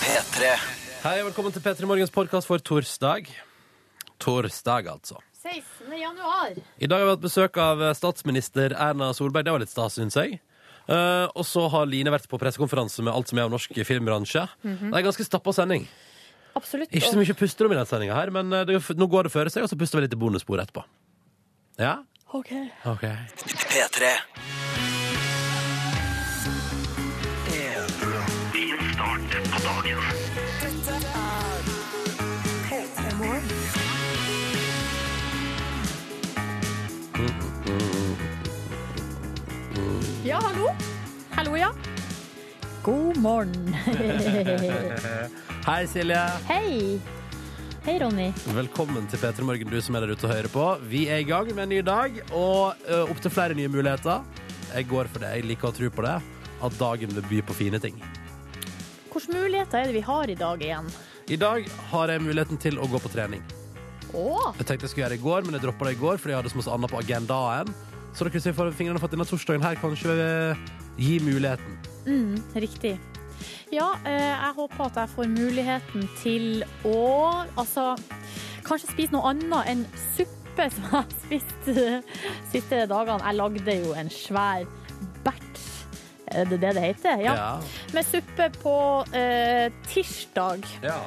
P3. Hei, og velkommen til P3 Morgens podkast for torsdag. Torsdag, altså. 16. januar. I dag har vi hatt besøk av eh, statsminister Erna Solberg. Det var litt stas, syns jeg. Eh, og så har Line vært på pressekonferanse med alt som er av norsk filmbransje. Det er en ganske stappa sending. Mhm. Absolutt. Ikke så mye pusterom i den sendinga her, men eh, det, nå går det føre seg, og så puster vi litt i bonusbord etterpå. Ja? Ok. OK. P3. Ja, hallo. Hallo, ja. God morgen. Hei, Silje. Hei. Hei, Ronny. Velkommen til P3 Morgen, du som er der ute og hører på. Vi er i gang med en ny dag og ø, opp til flere nye muligheter. Jeg går for det. Jeg liker å tro på det. At dagen vil by på fine ting. Hvilke muligheter er det vi har i dag igjen? I dag har jeg muligheten til å gå på trening. Å, Jeg tenkte jeg skulle gjøre det i går, men jeg droppa det i går fordi jeg hadde så masse annet på agendaen. Så dere ser for fingrene for at denne torsdagen her kanskje eh, gir muligheten. riktig. Ja, eh, jeg håper at jeg får muligheten til å Altså, kanskje spise noe annet enn suppe som jeg har spist de siste dagene. Jeg lagde jo en svær batch. Er det det det heter? Ja. Med suppe på eh, tirsdag. Ja.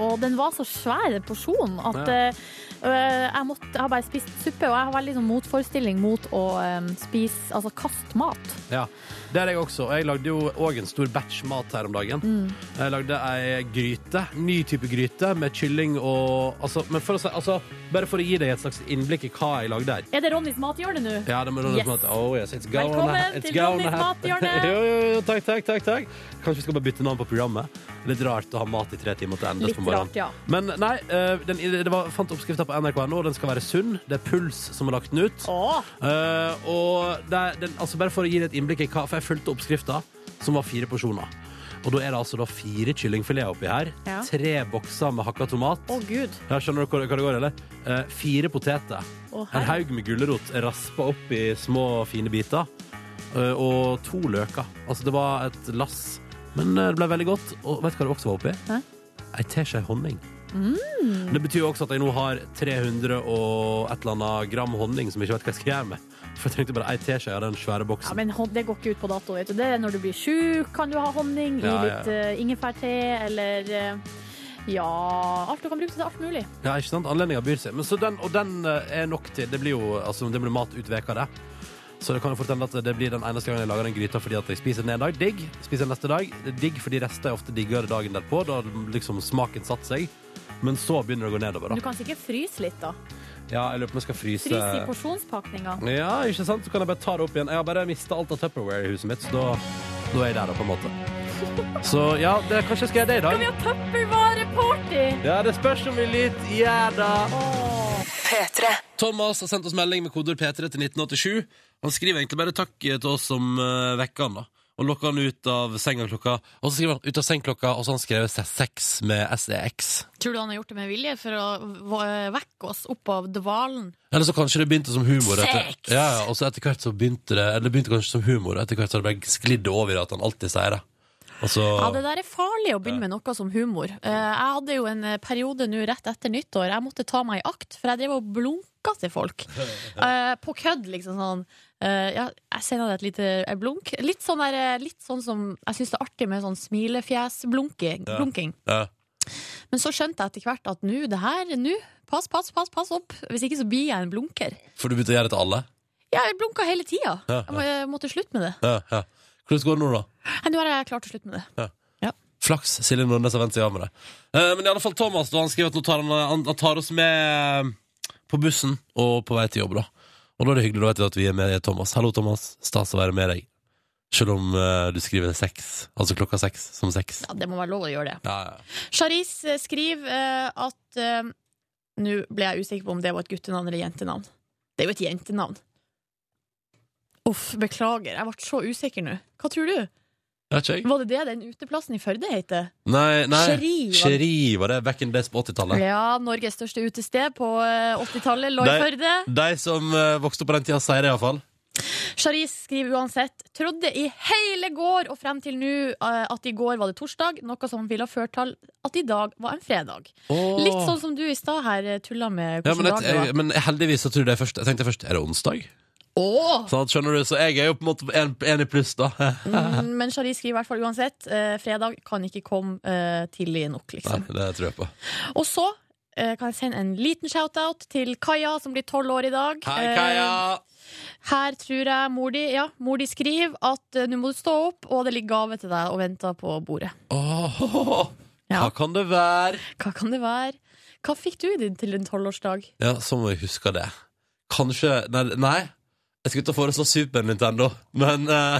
Og den var så svær en porsjon at Ja. eh, øh, jeg, måtte, jeg har bare spist suppe, og jeg har veldig sånn motforestilling mot å eh, spise, altså kaste mat. Ja, det er jeg også. Og jeg lagde jo òg en stor batch mat her om dagen. Mm. Jeg lagde ei gryte, ny type gryte, med kylling og altså, Men for å si, altså, bare for å gi deg et slags innblikk i hva jeg lagde her. Er det Ronnys mathjørne nå? Ja, det må Ronny Yes. smake. Oh, yes, it's gone. Velkommen It's til gone. Ronnys mathjørne. jo, jo, jo, takk, takk, takk, takk. Kanskje vi skal bare bytte navn på programmet. Litt rart å ha mat i tre timer til endes Litt på morgenen. rart, ja. Men nei, eh, den, det var, fant oppskrifta på nrk.no. Den skal være sunn. Det er Puls som har lagt den ut. Å, Eh, og det, er- den, altså bare for å gi deg et innblikk i hva For jeg fulgte oppskrifta, som var fire porsjoner. Og da er det altså da fire kyllingfileter oppi her. Ja. Tre bokser med hakka tomat. å gud. Ja, skjønner du hvor- hva det går, eller? Eh, fire poteter. Å, en herre. haug med gulrot raspa opp i små, fine biter. Eh, og to løker. Altså, det var et lass. Men eh, det ble veldig godt. Og vet du hva det også var oppi? Hæ? Mm. Ei teskje honning. Det betyr jo også at jeg nå har 300 og et eller annet gram honning som jeg ikke vet hva jeg skal gjøre med. For jeg trengte bare ei teskje av den svære Ja, boksen. men hon- det går ikke ut på dato, vet du. Det er når du blir sjuk, kan du ha honning i Ja, ja. litt eh, ingefærte, eller eh, ja, alt du kan bruke til alt mulig. Ja, ikke sant? Anledninga byr seg. Men så den, og den eh, er nok til Det blir jo altså, det blir mat ut veka, det. Så det kan jo fort hende at eh, det blir den eneste gangen jeg lager den gryta fordi at jeg spiser den en dag. Digg. Spiser den neste dag. Det er Digg fordi rester er ofte diggere dagen derpå. Da har liksom smaken satt seg. Men så begynner det å gå nedover, Du da. kan sikkert fryse litt, da. Ja, jeg lurer på om jeg skal fryse Fryse i porsjonspakninga. Ja, ikke sant? Så kan jeg bare ta det opp igjen. Jeg har bare mista alt av Tupperware i huset mitt, så da, da er jeg der, da, på en måte. Så ja, det, kanskje jeg skal gjøre det i Skal vi dag. ha Tupperware-party? Ja, det spørs om vi litt gjør det. Åh. Thomas har sendt oss melding med koder P3 til 1987. Han skriver egentlig bare takk til oss som eh, vekker han, da. Og lokker han ut av senga klokka Og så skriver han ut av sengklokka, og så har han skrevet seg sex med E SEX. Tror du han har gjort det med vilje for å v- vekke oss opp av dvalen? Eller så kanskje det begynte som humor. Etter, Sex! ja, ja, og så etter hvert så begynte det Eller det begynte kanskje som humor, og etter hvert så har det bare sklidd over i at han alltid sier det. Og så Ja, Det der er farlig å begynne med noe som humor. Eh, Jeg hadde jo en eh, periode nå rett etter nyttår jeg måtte ta meg i akt, for jeg drev og blunka til folk. Eh, På kødd, liksom sånn. Eh, Ja, jeg sender deg et lite eh, blunk. Litt sånn, der, eh, litt sånn som jeg syns det er artig med sånn smilefjes-blunking. Ja. blunking. ja. Men så skjønte jeg etter hvert at nå, det her, nå Pass, pass, pass, pass opp! Hvis ikke så blir jeg en blunker. For du begynte å gjøre det til alle? Ja, jeg blunka hele tida. Ja, Jeg må- jeg måtte slutte med det. Ja, ja. Hvordan går det nå, da? Nei, Nå har jeg klart å slutte med det. Flaks Silje Nordnes har vendt seg av med det. Eh, men i alle fall Thomas da, han skriver at nå tar han, han, han tar oss med eh, på bussen og på vei til jobb. da Og da er det hyggelig da vet vi at vi er med deg, Thomas. Hallo, Thomas. Stas å være med deg. Selv om eh, du skriver seks, altså klokka seks som seks. Ja, det må være lov å gjøre det. Ja, ja. Charis eh, skriver eh, at eh, Nå ble jeg usikker på om det var et guttenavn eller jentenavn. Det er jo et jentenavn. Uff, beklager. Jeg ble så usikker nå. Hva tror du? Ja, ikke jeg? Var det det den uteplassen i Førde heter? Nei, nei. Cheri, var det. Cheri var det back in days på 80-tallet. Ja, Norges største utested på eh, 80-tallet lå i Nei. Førde. De som eh, vokste opp på den tida, sier det iallfall. Charis skriver uansett Trodde i hele går og frem til nå eh, at i går var det torsdag, noe som ville ha ført til at i dag var en fredag. Åh. Litt sånn som du i stad her eh, tulla med ja, men, hvordan dag det jeg, var. men heldigvis så tror jeg først, jeg tenkte først Er det onsdag? Åh! Sånn, at, skjønner du, Så jeg er jo på en måte en, en i pluss, da. Nei, Mm, Men Charis skriver i hvert fall uansett eh, fredag kan ikke komme eh, tidlig nok, liksom. det tror jeg på. Og så eh, kan jeg sende en liten shout-out til Kaja, som blir tolv år i dag. Hei, Eh, Kaja! her tror jeg mor di ja, mor di skriver at eh, nå må du stå opp, og det ligger gave til deg og venter på bordet. Åh, Ja. Hva kan det være? Hva kan det være? Hva fikk du i din til din tolvårsdag? Ja, så må jeg huske det. Kanskje Nei, nei. jeg skulle til å foreslå Super Nintendo, men eh,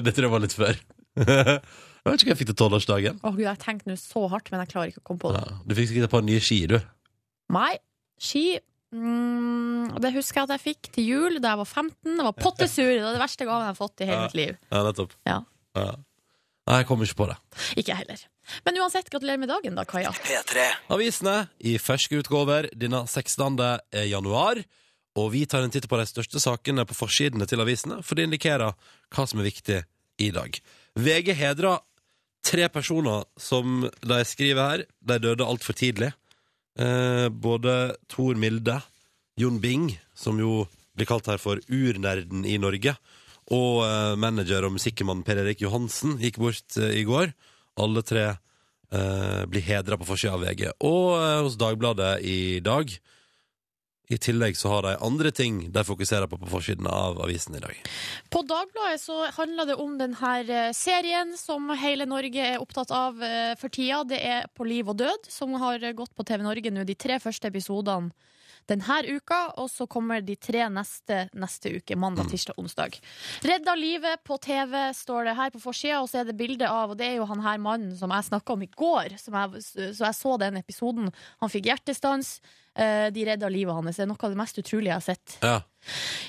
det tror jeg var litt før. jeg vet ikke hva jeg fikk til tolvårsdagen. Å Gud, jeg tenkte nå så hardt, men jeg klarer ikke å komme på det. Ja, du fikk sikkert et par nye ski, du. Nei, ski mm, Det husker jeg at jeg fikk til jul da jeg var 15. Det var pottesur. Det var det verste gaven jeg har fått i hele Ja. mitt liv. Ja, nettopp. Ja. Ja. Nei, jeg kom ikke på det. Ikke jeg heller. Men uansett, gratulerer med dagen da, Kaja. Avisene i ferske utgåver denne 16. januar. Og vi tar en titt på de største sakene på forsidene til avisene, for det indikerer hva som er viktig i dag. VG hedrer tre personer som de skriver her. De døde altfor tidlig. Eh, både Tor Milde, Jon Bing, som jo blir kalt her for urnerden i Norge, og eh, manager og musikkemann Per Erik Johansen gikk bort eh, i går. Alle tre eh, blir hedra på forsida av VG. Og eh, hos Dagbladet i dag. I tillegg så har de andre ting de fokuserer på på forsiden av avisen i dag. På Dagbladet så handler det om denne serien som hele Norge er opptatt av eh, for tida. Det er På liv og død, som har gått på TV Norge nå, de tre første episodene denne uka. Og så kommer de tre neste neste uke. Mandag, tirsdag, onsdag. Redda livet på TV står det her på forsida, og så er det bilde av Og det er jo han her mannen som jeg snakka om i går, som jeg, så jeg så den episoden. Han fikk hjertestans. eh, De redda livet hans. Det er noe av det mest utrolige jeg har sett. Ja.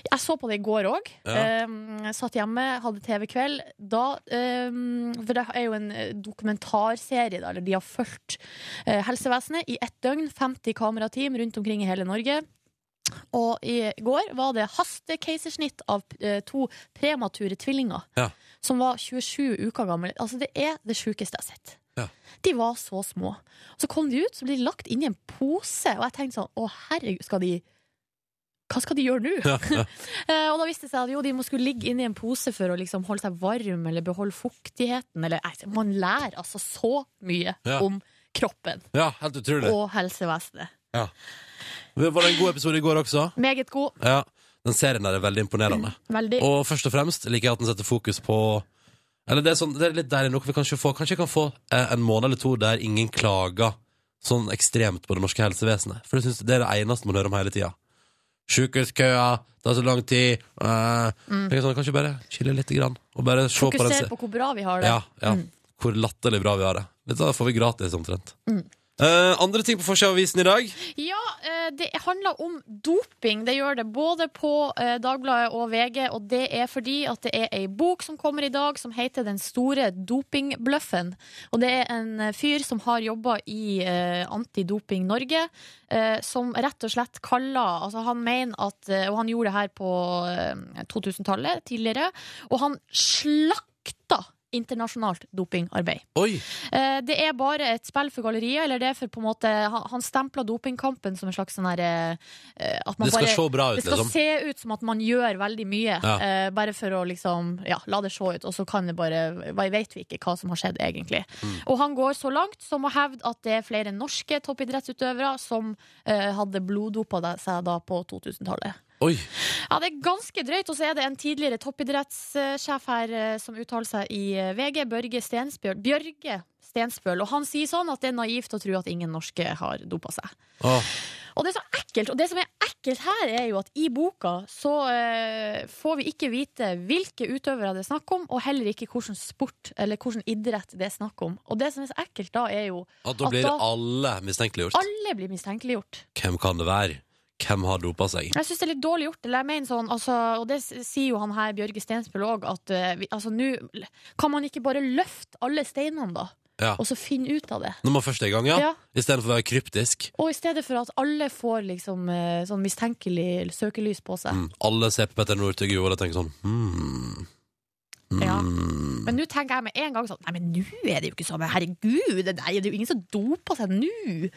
Jeg så på det i går òg. Ja. satt hjemme, hadde TV-kveld. Da ehm, For det er jo en eh, dokumentarserie, da, eller de har fulgt eh, helsevesenet i ett døgn. 50 kamerateam rundt omkring i hele Norge. Og i går var det hastekeisersnitt av eh, to premature tvillinger. Ja. Som var 27 uker gamle. Altså, det er det sjukeste jeg har sett. Ja. De var så små. Så kom de ut, så ble de lagt inn i en pose, og jeg tenkte sånn Å, herregud, skal de Hva skal de gjøre nå? Ja, ja. Eh, og da viste det seg at jo, de må skulle ligge inni en pose for å liksom holde seg varm eller beholde fuktigheten. Eller, nei, man lærer altså så mye Ja. om kroppen ja helt utrolig. og helsevesenet. Ja. Det Var det en god episode i går også? Meget god. Ja. Den serien der er veldig imponerende. Veldig. Og først og fremst liker jeg at den setter fokus på Eller det er, sånn, det er litt deilig nok vi kanskje får Kanskje jeg kan få eh, en måned eller to der ingen klager sånn ekstremt på det norske helsevesenet. For jeg synes det er det eneste man hører om hele tida. Sykehuskøer, det tar så lang tid eh, tenker jeg sånn, Kanskje bare chille litt grann, og bare se på den Mm. Fokuser på Mm. hvor bra vi har det. ja, ja. Hvor latterlig bra vi har det. Dette får vi gratis, omtrent. Mm. Eh, andre ting på forsida av avisen i dag. Ja, eh, det handler om doping. Det gjør det både på eh, Dagbladet og VG, og det er fordi at det er ei bok som kommer i dag som heter Den store dopingbløffen. Og det er en eh, fyr som har jobba i eh, Antidoping Norge, eh, som rett og slett kaller Altså, han mener at eh, Og han gjorde det her på eh, 2000-tallet tidligere, og han slakta internasjonalt dopingarbeid. Oi! Eh, Det er bare et spill for galleriet, eller det er for på en måte Han, han stempla dopingkampen som en slags sånn her eh, At man Det skal bare se bra ut, det skal liksom. se ut som at man gjør veldig mye, Ja. eh, bare for å liksom ja, la det se ut, og så kan det bare bare Vet vi ikke hva som har skjedd, egentlig. Mm. Og han går så langt som å hevde at det er flere norske toppidrettsutøvere som eh, hadde bloddopa da- seg da på 2000-tallet. Oi. Ja, det er ganske drøyt, og så er det en tidligere toppidrettssjef her eh, som uttaler seg i eh, VG, Børge Stensbjørn. Bjørge Stensbøl, og han sier sånn at det er naivt å tro at ingen norske har dopa seg. Åh. Og det er så ekkelt, og det som er ekkelt her er jo at i boka så eh, får vi ikke vite hvilke utøvere det er snakk om, og heller ikke hvilken sport eller hvilken idrett det er snakk om. Og det som er så ekkelt da er jo At da At blir da- alle mistenkeliggjort. alle blir mistenkeliggjort. Hvem kan det være? Hvem har dopa seg? Jeg syns det er litt dårlig gjort. Eller jeg mener sånn, altså, og det s- sier jo han her, Bjørge Stensbøl òg, at eh, vi- altså, nå l- kan man ikke bare løfte alle steinene, da? Ja. og så finne ut av det. Når man først er i gang, ja. Ja. Istedenfor å være kryptisk. Og i stedet for at alle får liksom eh, sånn mistenkelig søkelys på seg. Mm. Alle ser på Petter Northug i år og tenker sånn hmm. Ja. Mm. Men nå tenker jeg med en gang sånn Nei, men nå er det jo ikke sånn. Men herregud, det, der, det er jo ingen som doper seg nå.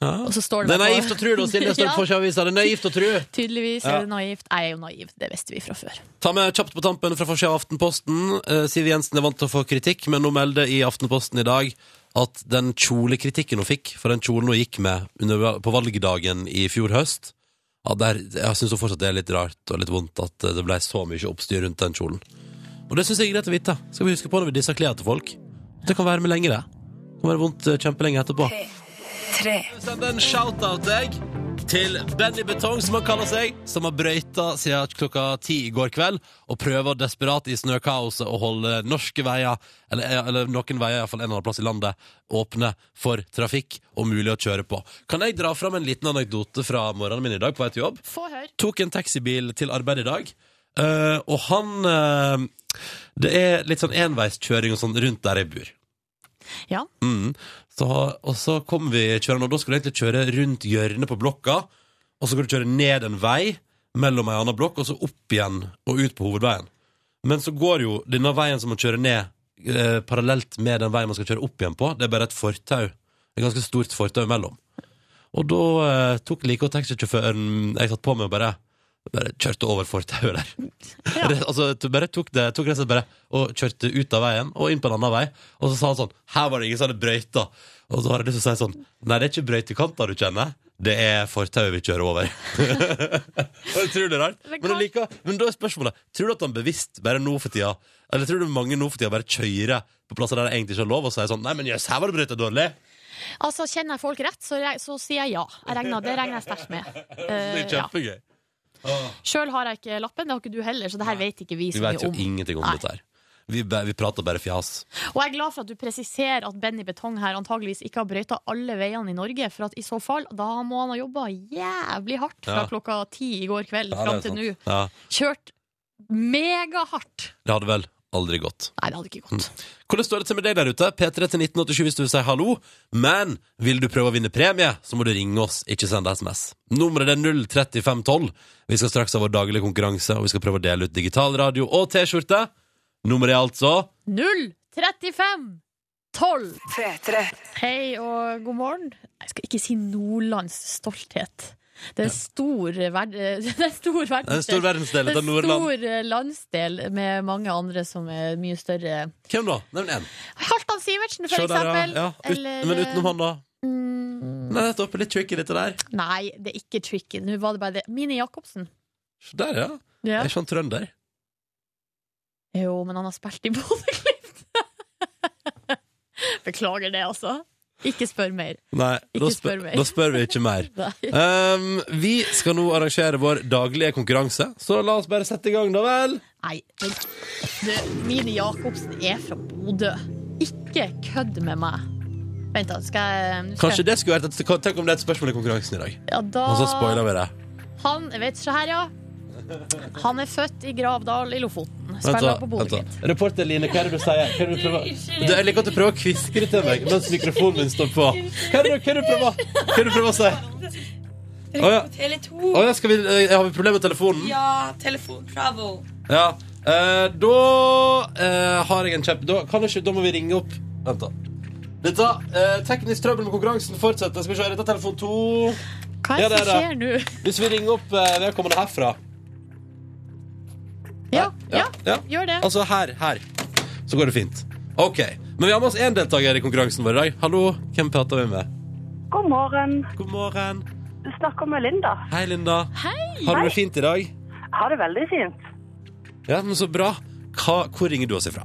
Ja. Og så står Det det er bare på- naivt å tro, da, Silje. Står det Ja. på avisa. Det er naivt å tro. Tydeligvis Ja. er det naivt. Jeg er jo naiv, det visste vi fra før. Ta med kjapt på tampen fra forsida av Aftenposten. Eh, Siv Jensen er vant til å få kritikk, men nå melder i Aftenposten i dag at den kjolekritikken hun fikk for den kjolen hun gikk med under, på valgdagen i fjor høst ja, der, Jeg syns fortsatt det er litt rart og litt vondt at eh, det ble så mye oppstyr rundt den kjolen. Og det syns jeg er greit å vite. Skal vi huske på når vi disser klær til folk. Det kan være med lenge, det. Det kan være vondt eh, kjempelenge etterpå. Send en shout-out jeg, til Benny Betong, som han kaller seg, som har brøyta siden klokka ti i går kveld, og prøver desperat i snøkaoset å holde norske veier, eller, eller noen veier, iallfall en eller annen plass i landet, åpne for trafikk og mulig å kjøre på. Kan jeg dra fram en liten anekdote fra morgenen min i dag på vei til jobb? Få høre. tok en taxibil til arbeid i dag. eh, og han eh, Det er litt sånn enveiskjøring og sånn rundt der jeg bor. Ja. Mm. Så, og så kom vi kjørende, og da skulle du egentlig kjøre rundt hjørnet på blokka. Og så skulle du kjøre ned en vei mellom ei anna blokk, og så opp igjen og ut på hovedveien. Men så går jo denne veien som man kjører ned, eh, parallelt med den veien man skal kjøre opp igjen på. Det er bare et fortau. Et ganske stort fortau imellom. Og da eh, tok like godt taxisjåføren jeg satt på med, og bare, bare kjørte over fortauet der. Ja. Det, altså, t- bare tok det, tok rett og slett bare og kjørte ut av veien og inn på en annen vei. Og så sa han sånn Her var det ingen som hadde brøyta. Og så har jeg lyst til å si sånn Nei, det er ikke brøytekanter du kjenner. Det er fortauet vi kjører over. Og jeg tror det er rart. Men Men, jeg liker, men da er spørsmålet Tror du at han bevisst bare nå for tida Eller tror du mange nå for tida bare kjører på plasser der det egentlig ikke er lov, og sier sånn Nei, men jøss, her var det brøyta dårlig. Altså, kjenner jeg folk rett, så, reg- så sier jeg ja. Jeg regner, det regner jeg sterkt med. Det Eh, er ja. kjempegøy. Sjøl har jeg ikke lappen, det har ikke du heller, så det her vet ikke vi Vi så vet mye jo om. ingenting om Nei. dette her. Vi, ba- vi prater bare fjas. Og jeg er glad for at du presiserer at Benny Betong her antageligvis ikke har brøyta alle veiene i Norge, for at i så fall, da må han ha jobba jævlig hardt fra Ja. klokka ti i går kveld Ja, det er fram til nå. sant. Ja, Kjørt megahardt. det hadde vel aldri gått. Nei, det hadde ikke gått. Hvordan står det til med deg der ute? P3 til 1987 hvis du vil si hallo. Men vil du prøve å vinne premie, så må du ringe oss, ikke sende SMS. Nummeret er 03512. Vi skal straks ha vår daglige konkurranse, og vi skal prøve å dele ut digital radio og T-skjorte. Nummeret er altså 035 12. Hei og god morgen. Jeg skal ikke si Nordlands stolthet. Det er en stor, verd det er en stor Det er en stor verdensdel. verdensdel av en Nordland. stor eh, landsdel med mange andre som er mye større. Hvem da? Nevn én. Halvdan Sivertsen, for Se der, ja. eksempel. ja. Ut, Eller, eh, Men utenom han, da? Mm, Nei, nettopp. Litt tricky, dette der. nei, det er ikke tricky. Nå var det bare det. Mini Jacobsen. Se der, ja. Er ikke han trønder? Jo, men han har spilt i Bodø-Glimt. Beklager det, altså. Ikke spør mer. Nei, Ikke da, spør spør, meg. da spør vi ikke mer. Nei. Um, vi skal nå arrangere vår daglige konkurranse, så la oss bare sette i gang, da vel. Nei, men du, Mini Jacobsen er fra Bodø. Ikke kødd med meg. Vent, da. Skal jeg nå skal Kanskje det skulle vært et, Tenk om det er et spørsmål i konkurransen i dag. jeg- ja, da, Og så spoiler vi det. Han vet du, se her, ja. Han er født i Gravdal i Lofoten. Vent da, Spiller på vent da. Bodø-Glimt. Reporter Line, hva er det du sier? Hva er det du prøver? Du, jeg liker at du prøver å kviskre til meg mens mikrofonen min står på. Hva er det, du- hva er det du prøver, hva er det du prøver å si? Å ja. Tele2. Å ja, skal vi, eh, har vi problemer med telefonen? Ja, telefon travel. Ja. Eh, da eh, har jeg en kjempe... Da, kan jeg ikke, da må vi ringe opp Vent, da. Dette, eh, teknisk trøbbel med konkurransen fortsetter. Skal vi se, er dette telefon to? Hva Ja, er det det som er skjer nå? Hvis vi ringer opp eh, vedkommende herfra Ja, ja, ja. gjør det. Altså her, her. Så går det fint. OK. Men vi har med oss én deltaker i konkurransen vår i dag. Hallo, hvem prater vi med? God morgen. God morgen. Du snakker med Linda. Hei, Linda. Hei! Har du det fint i dag? Har det veldig fint. Ja, men så bra. Hva, hvor ringer du oss ifra?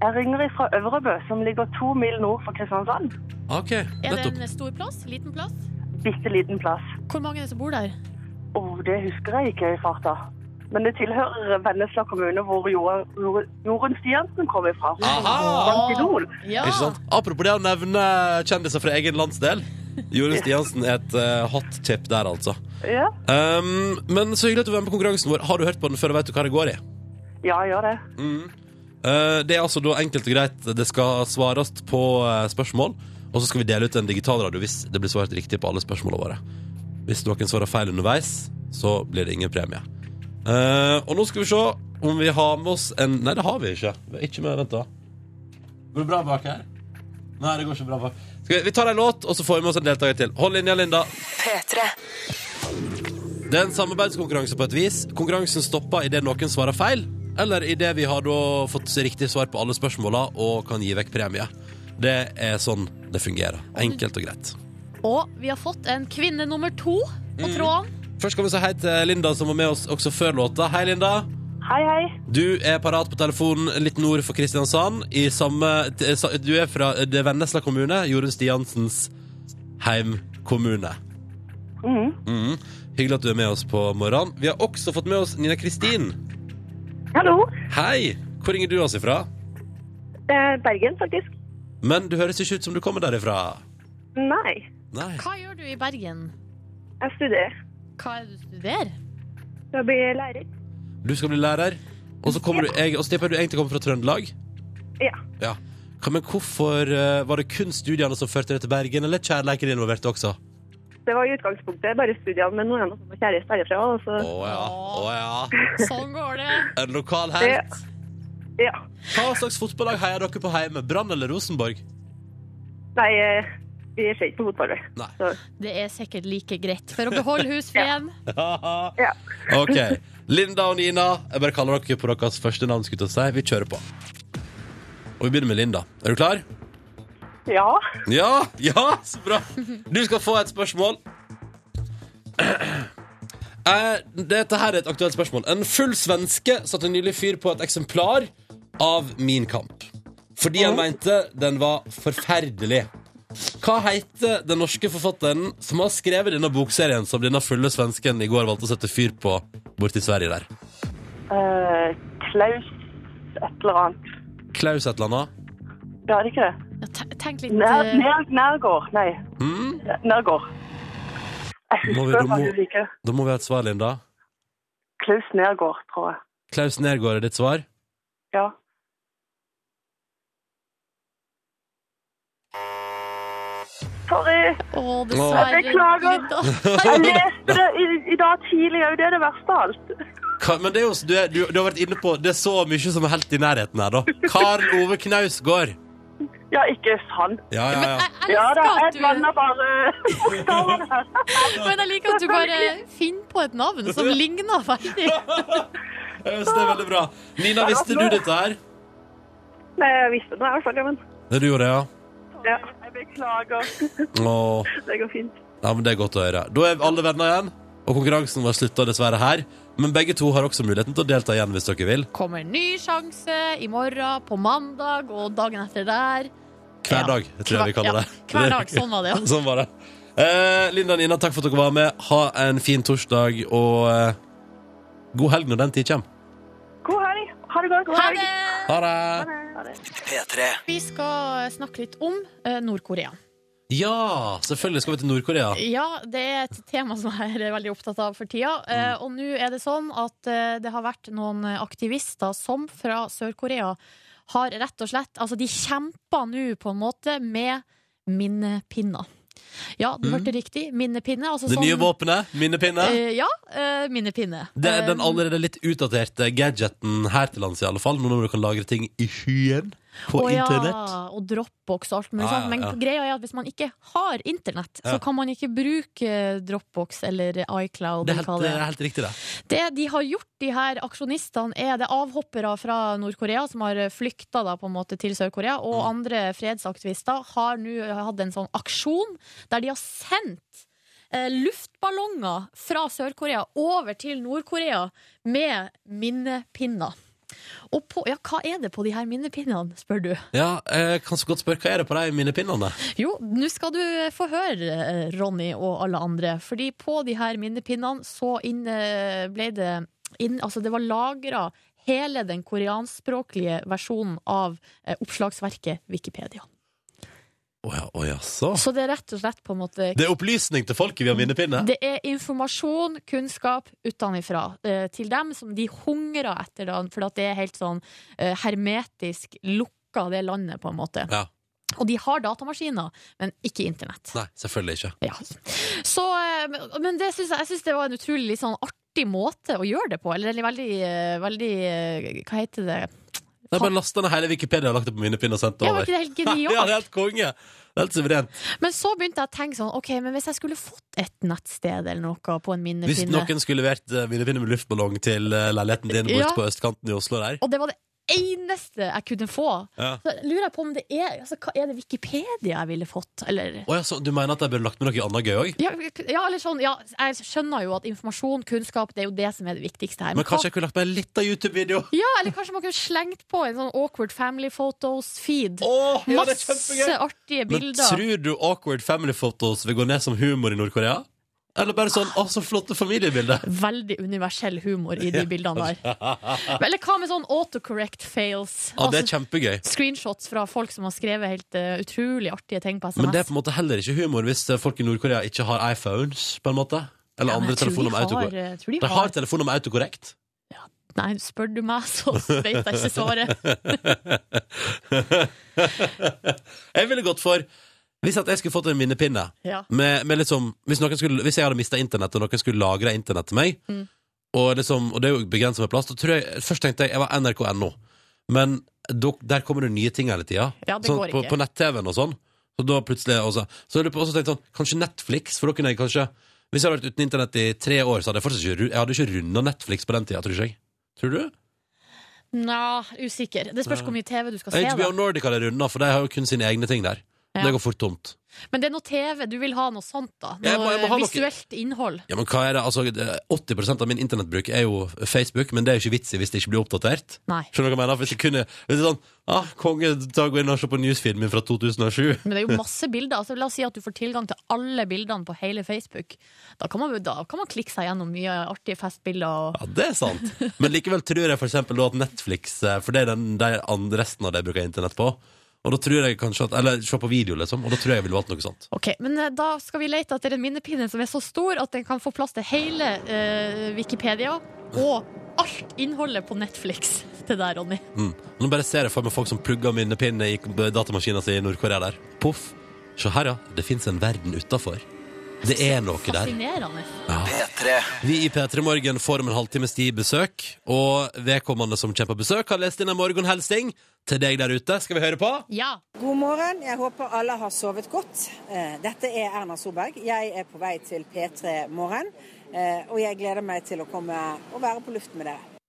Jeg ringer fra Øvrebø, som ligger to mil nord for Kristiansand. OK, Er det nettopp. en stor plass? Liten plass? Bitte liten plass. Hvor mange er det som bor der? Å, det husker jeg ikke i farta. Men det tilhører Vennesla kommune, hvor Jo- Jo- Jorunn Stiansen kom ifra. Hun Aha! vant Idol. Ja. Ikke sant? Apropos det å nevne kjendiser fra egen landsdel. Jorunn Stiansen er et eh, hot tip der, altså. Ehm, Ja, Um, men så hyggelig at du var med på konkurransen vår. Har du hørt på den før og vet du hva det går i? ja gjør det. Eh, Det er altså da enkelt og greit Det skal svares på eh, spørsmål Og så skal vi dele ut en digital radio Hvis det blir svart riktig på alle spørsmålene våre Hvis noen svarer feil underveis Så blir det ingen premie Eh, Og nå skal vi se om vi har med oss en Nei, det har vi ikke Vi har ikke med, vent da Går det bra bak her? Nei, det går ikke bra bak skal vi, vi tar en låt, og så får vi med oss en deltaker til Hold linja, Linda det er en samarbeidskonkurranse på et vis. Konkurransen stopper idet noen svarer feil, eller idet vi har da fått riktig svar på alle spørsmåla og kan gi vekk premie. Det er sånn det fungerer. Enkelt og greit. Og vi har fått en kvinne nummer to på Mm. tråden. Først skal vi si hei til Linda, som var med oss også før låta. Hei, Linda. Hei, hei. Du er parat på telefonen litt nord for Kristiansand. I samme, t- sa- du er fra eh, det Vennesla kommune, Jorunn Stiansens heimkommune. Mhm. Mhm. Hyggelig at du er med oss på morgenen. Vi har også fått med oss Nina Kristin. Hallo. Hei! Hvor ringer du oss ifra? Eh, Bergen, faktisk. Men du høres ikke ut som du kommer derifra. Nei. Nei. Hva gjør du i Bergen? Jeg studerer. Hva er det du studerer? Jeg blir lærer. Du skal bli lærer, og så kommer du, jeg, og så tipper jeg du egentlig kommer fra Trøndelag? Ja. Ja. Hva- Men hvorfor eh, var det kun studiene som førte deg til Bergen, eller er kjærleiken involvert også? Det var i utgangspunktet bare studiene med noen som var kjæreste altså. herfra. og Å så- ja. Å ja. Sånn går det. En lokal Ja. helt. Ja. Hva slags fotballag heier dere på hjemme? Brann eller Rosenborg? Nei, eh, vi ser ikke på fotball. vi. Nei. Så, Det er sikkert like greit for å beholde husfreden. ja. OK. Linda og Nina, jeg bare kaller dere på deres første navn. skulle jeg til å si. Vi kjører på. Og vi begynner med Linda. Er du klar? ja. Ja, ja, så bra Du skal få et spørsmål Eh, Dette her er et aktuelt spørsmål En full svenske satte nylig fyr på et eksemplar Av Min Kamp Fordi han mente den var forferdelig Hva heter den norske forfatteren Som har skrevet denne bokserien Som denne fulle svensken i går valgte å sette fyr på Bort i Sverige der Eh, Klaus et eller annet. Klaus et eller annet Ja, det er ikke det. Ja, te- Tenk litt Nær, eh, Hmm? nær, nærgård. Nei. Mm. Nærgård. Jeg Må vi- husker du hva må- du liker. Da må vi ha et svar, Linda Klaus Nærgård, tror jeg. Klaus Nergård er ditt svar Ja. Sorry. Å, dessverre. Beklager. Linda. Jeg leste det i, i dag tidlig, og det er det verste av alt. Hva, men det er jo, du, er, du, du har vært inne på Det er så mye som er helt i nærheten her, da. Karl Ove Knausgård. Ja, ikke sant. Ja, ja, ja. Jeg Ja da, elsker at jeg du blander bare bokstavene her. Men jeg liker at du bare finner på et navn som ligner veldig. Jeg synes det er veldig bra. Nina, visste du dette her? Nei, jeg visste det i hvert fall, ja, men Det du gjorde, ja? ja. Jeg beklager. Åh. Det går fint. Ja, men Det er godt å høre. Da er alle venner igjen, og konkurransen var slutta dessverre her. Men begge to har også muligheten til å delta igjen hvis dere vil. Kommer en ny sjanse i morgen, på mandag og dagen etter der. Hver dag, tror jeg vi kaller det. Ja, hver dag, sånn var det, ja. Sånn var det. Eh, Linda og Nina, takk for at dere var med. Ha en fin torsdag, og eh, god helg når den tid kommer. God helg. Ha det godt. God Ha helg. det! Ha det! Ha det. Vi skal snakke litt om eh, Nord-Korea. Ja, selvfølgelig skal vi til Nord-Korea. Ja, det er et tema som jeg er veldig opptatt av for tida. Eh, Mm. Og nå er det sånn at eh, det har vært noen aktivister som fra Sør-Korea har rett og slett Altså, de kjemper nå på en måte med minnepinner. Ja, du hørte riktig. Minnepinne. Altså Mm. Det sånn, nye våpenet, minnepinne. Eh, ja, eh, minnepinne. Det er den Eh, allerede litt utdaterte gadgeten her til lands, i alle fall. Nå når du kan lagre ting i skyen på Å internett. Ja, og Dropbox og alt mulig Ja, ja, sånt. Men ja. greia er at hvis man ikke har internett, Ja. så kan man ikke bruke eh, Dropbox eller iCloud. Det er eller hva helt, det er helt riktig, det. Det de har gjort, de her aksjonistene, er det avhoppere fra Nord-Korea som har flykta da, på en måte, til Sør-Korea, og andre fredsaktivister har nå hatt en sånn aksjon der de har sendt eh, luftballonger fra Sør-Korea over til Nord-Korea med minnepinner. Og på, ja, hva er det på de her minnepinnene, spør du? Ja, eh, jeg kan så godt spørre hva er det på de minnepinnene? Jo, nå skal du få høre, eh, Ronny og alle andre. Fordi på de her minnepinnene så inn, eh, ble det inn, Altså, det var lagra hele den koreanskspråklige versjonen av eh, oppslagsverket Wikipedia. Å ja, å jaså. Så det er rett og slett på en måte Det er opplysning til folket via minnepinne. Det er informasjon, kunnskap utenfra eh, til dem som de hungrer etter, da, for at det er helt sånn eh, hermetisk lukka, det landet, på en måte. Ja. Og de har datamaskiner, men ikke internett. Nei, selvfølgelig ikke. Ja. Så, eh, men men det synes jeg, jeg syns det var en utrolig litt sånn artig måte å gjøre det på. Eller en veldig, eh, veldig eh, Hva heter det? Det er bare lasta ned hele Wikipedia og lagt det på minnepinne og sendt det Ja, var over. ikke det Ja, det helt genialt? er helt konge! Det er Helt suverent. Men så begynte jeg å tenke sånn, ok, men hvis jeg skulle fått et nettsted eller noe på Hvis en minnepinne noen skulle levert eh, minnepinne med luftballong til eh, leiligheten din borte Ja. på østkanten i Oslo der Og det var det eneste jeg kunne få. Ja. Så lurer jeg på om det er altså, hva Er det Wikipedia jeg ville fått, eller Å ja, så du mener at jeg burde lagt med noe annet gøy òg? ja, ja, eller sånn, ja, jeg skjønner jo at informasjon, kunnskap, det er jo det som er det viktigste her. Men kanskje jeg kunne lagt med litt av YouTube-video? hva- Ja, eller kanskje man kunne slengt på en sånn awkward family photos-feed. Åh, ja, det er Masse kjempegøy! artige Men bilder. tror du awkward family photos vil gå ned som humor i Nord-Korea? Eller bare sånn 'Å, så flotte familiebilder'? Veldig universell humor i de bildene der. Eller hva med sånn autocorrect fails? Ja, det er Altså, kjempegøy. screenshots fra folk som har skrevet helt eh, utrolig artige ting på SMS. Men det er på en måte heller ikke humor hvis eh, folk i Nord-Korea ikke har iPhones, på en måte. Eller Ja, men andre jeg tror telefoner de med har, autokorrekt. eh, tror de De har telefoner med autokorrekt. Nei, spør du meg, så vet jeg ikke svaret. Jeg ville gått for Hvis at jeg skulle fått en minnepinne Ja. med, med liksom, hvis, noen skulle, hvis jeg hadde mista internett, og noen skulle lagre internett til meg, og, liksom, og det er jo begrensa med plass, da tror jeg Først tenkte jeg jeg var nrk.no, men da- der kommer det nye ting hele tida. Ja, det sånn, går på ikke. på nett-TV-en og sånn. Så da plutselig også, Så hadde jeg også tenkt sånn Kanskje Netflix, for da kunne jeg kanskje Hvis jeg hadde vært uten internett i tre år, så hadde jeg fortsatt ikke, ru- jeg hadde ikke runda Netflix på den tida, tror ikke jeg. Tror du? Nja, usikker. Det spørs hvor mye TV du skal se. HBO Da. Nordic hadde runda, for de har jo kun sine egne ting der. Ja. Det går fort tomt. Men det er noe TV. Du vil ha noe sånt, da. Noe Jeg må- jeg må ha noe- visuelt innhold. Ja, men hva er det? Altså, det- 80 av min internettbruk er jo Facebook, men det er jo ikke vits i hvis det ikke blir oppdatert. Nei. Skjønner du hva jeg mener? Hvis det kunne hvis det er sånn ah, 'Konge, ta og gå inn og se på newsfeeden min fra 2007'. Men det er jo masse bilder. Altså, la oss si at du får tilgang til alle bildene på hele Facebook. Da kan man, da kan man klikke seg gjennom mye artige festbilder. Og... Ja, det er sant. Men likevel tror jeg for eksempel da at Netflix eh, For det er den, det er an- resten av det jeg bruker internett på. Og da tror jeg kanskje at Eller se på video, liksom. Og da tror jeg jeg ville valgt noe sånt. Ok, Men eh, da skal vi lete etter en minnepinne som er så stor at den kan få plass til hele eh, Wikipedia og alt innholdet på Netflix. Det der, Ronny. Mm. Nå bare ser jeg for meg folk som plugger minnepinne i datamaskina si i Nord-Korea der. Poff. Se her, ja. Det fins en verden utafor. Det er noe der. Fascinerende. Vi i P3 Morgen får om en halvtimes tid besøk, og vedkommende som kommer på besøk, har lest inn en morgenhelsing til deg der ute. Skal vi høre på? Ja. God morgen, jeg håper alle har sovet godt. Eh, Dette er Erna Solberg. Jeg er på vei til P3 Morgen, eh, og jeg gleder meg til å komme og være på luften med dere.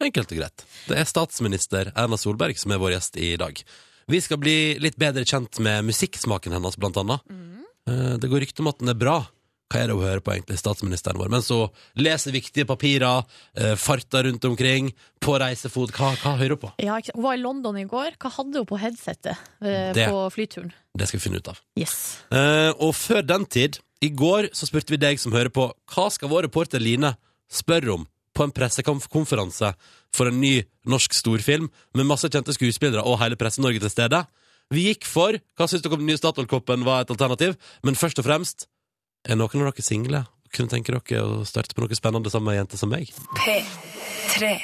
Enkelt og greit. Det er statsminister Erna Solberg som er vår gjest i dag. Vi skal bli litt bedre kjent med musikksmaken hennes, blant annet. Eh, Det går rykte om at den er bra. Hva er det hun hører på, egentlig, statsministeren vår? Men så leser viktige papirer, eh, farter rundt omkring, på reisefot. Hva, hva hører hun på? Ja, ikke sant. hun var i London i går. Hva hadde hun på headsetet eh, Det. på flyturen? Det skal vi finne ut av. Yes. Eh, og før den tid, i går så spurte vi deg som hører på, hva skal vår reporter Line spørre om på en pressekonferanse for en ny norsk storfilm med masse kjente skuespillere og hele Presse-Norge til stede? Vi gikk for Hva syns dere om den nye Statoil-koppen var et alternativ? Men først og fremst, er noen av dere single? Kunne tenke dere å starte på noe spennende sammen med ei jente som meg?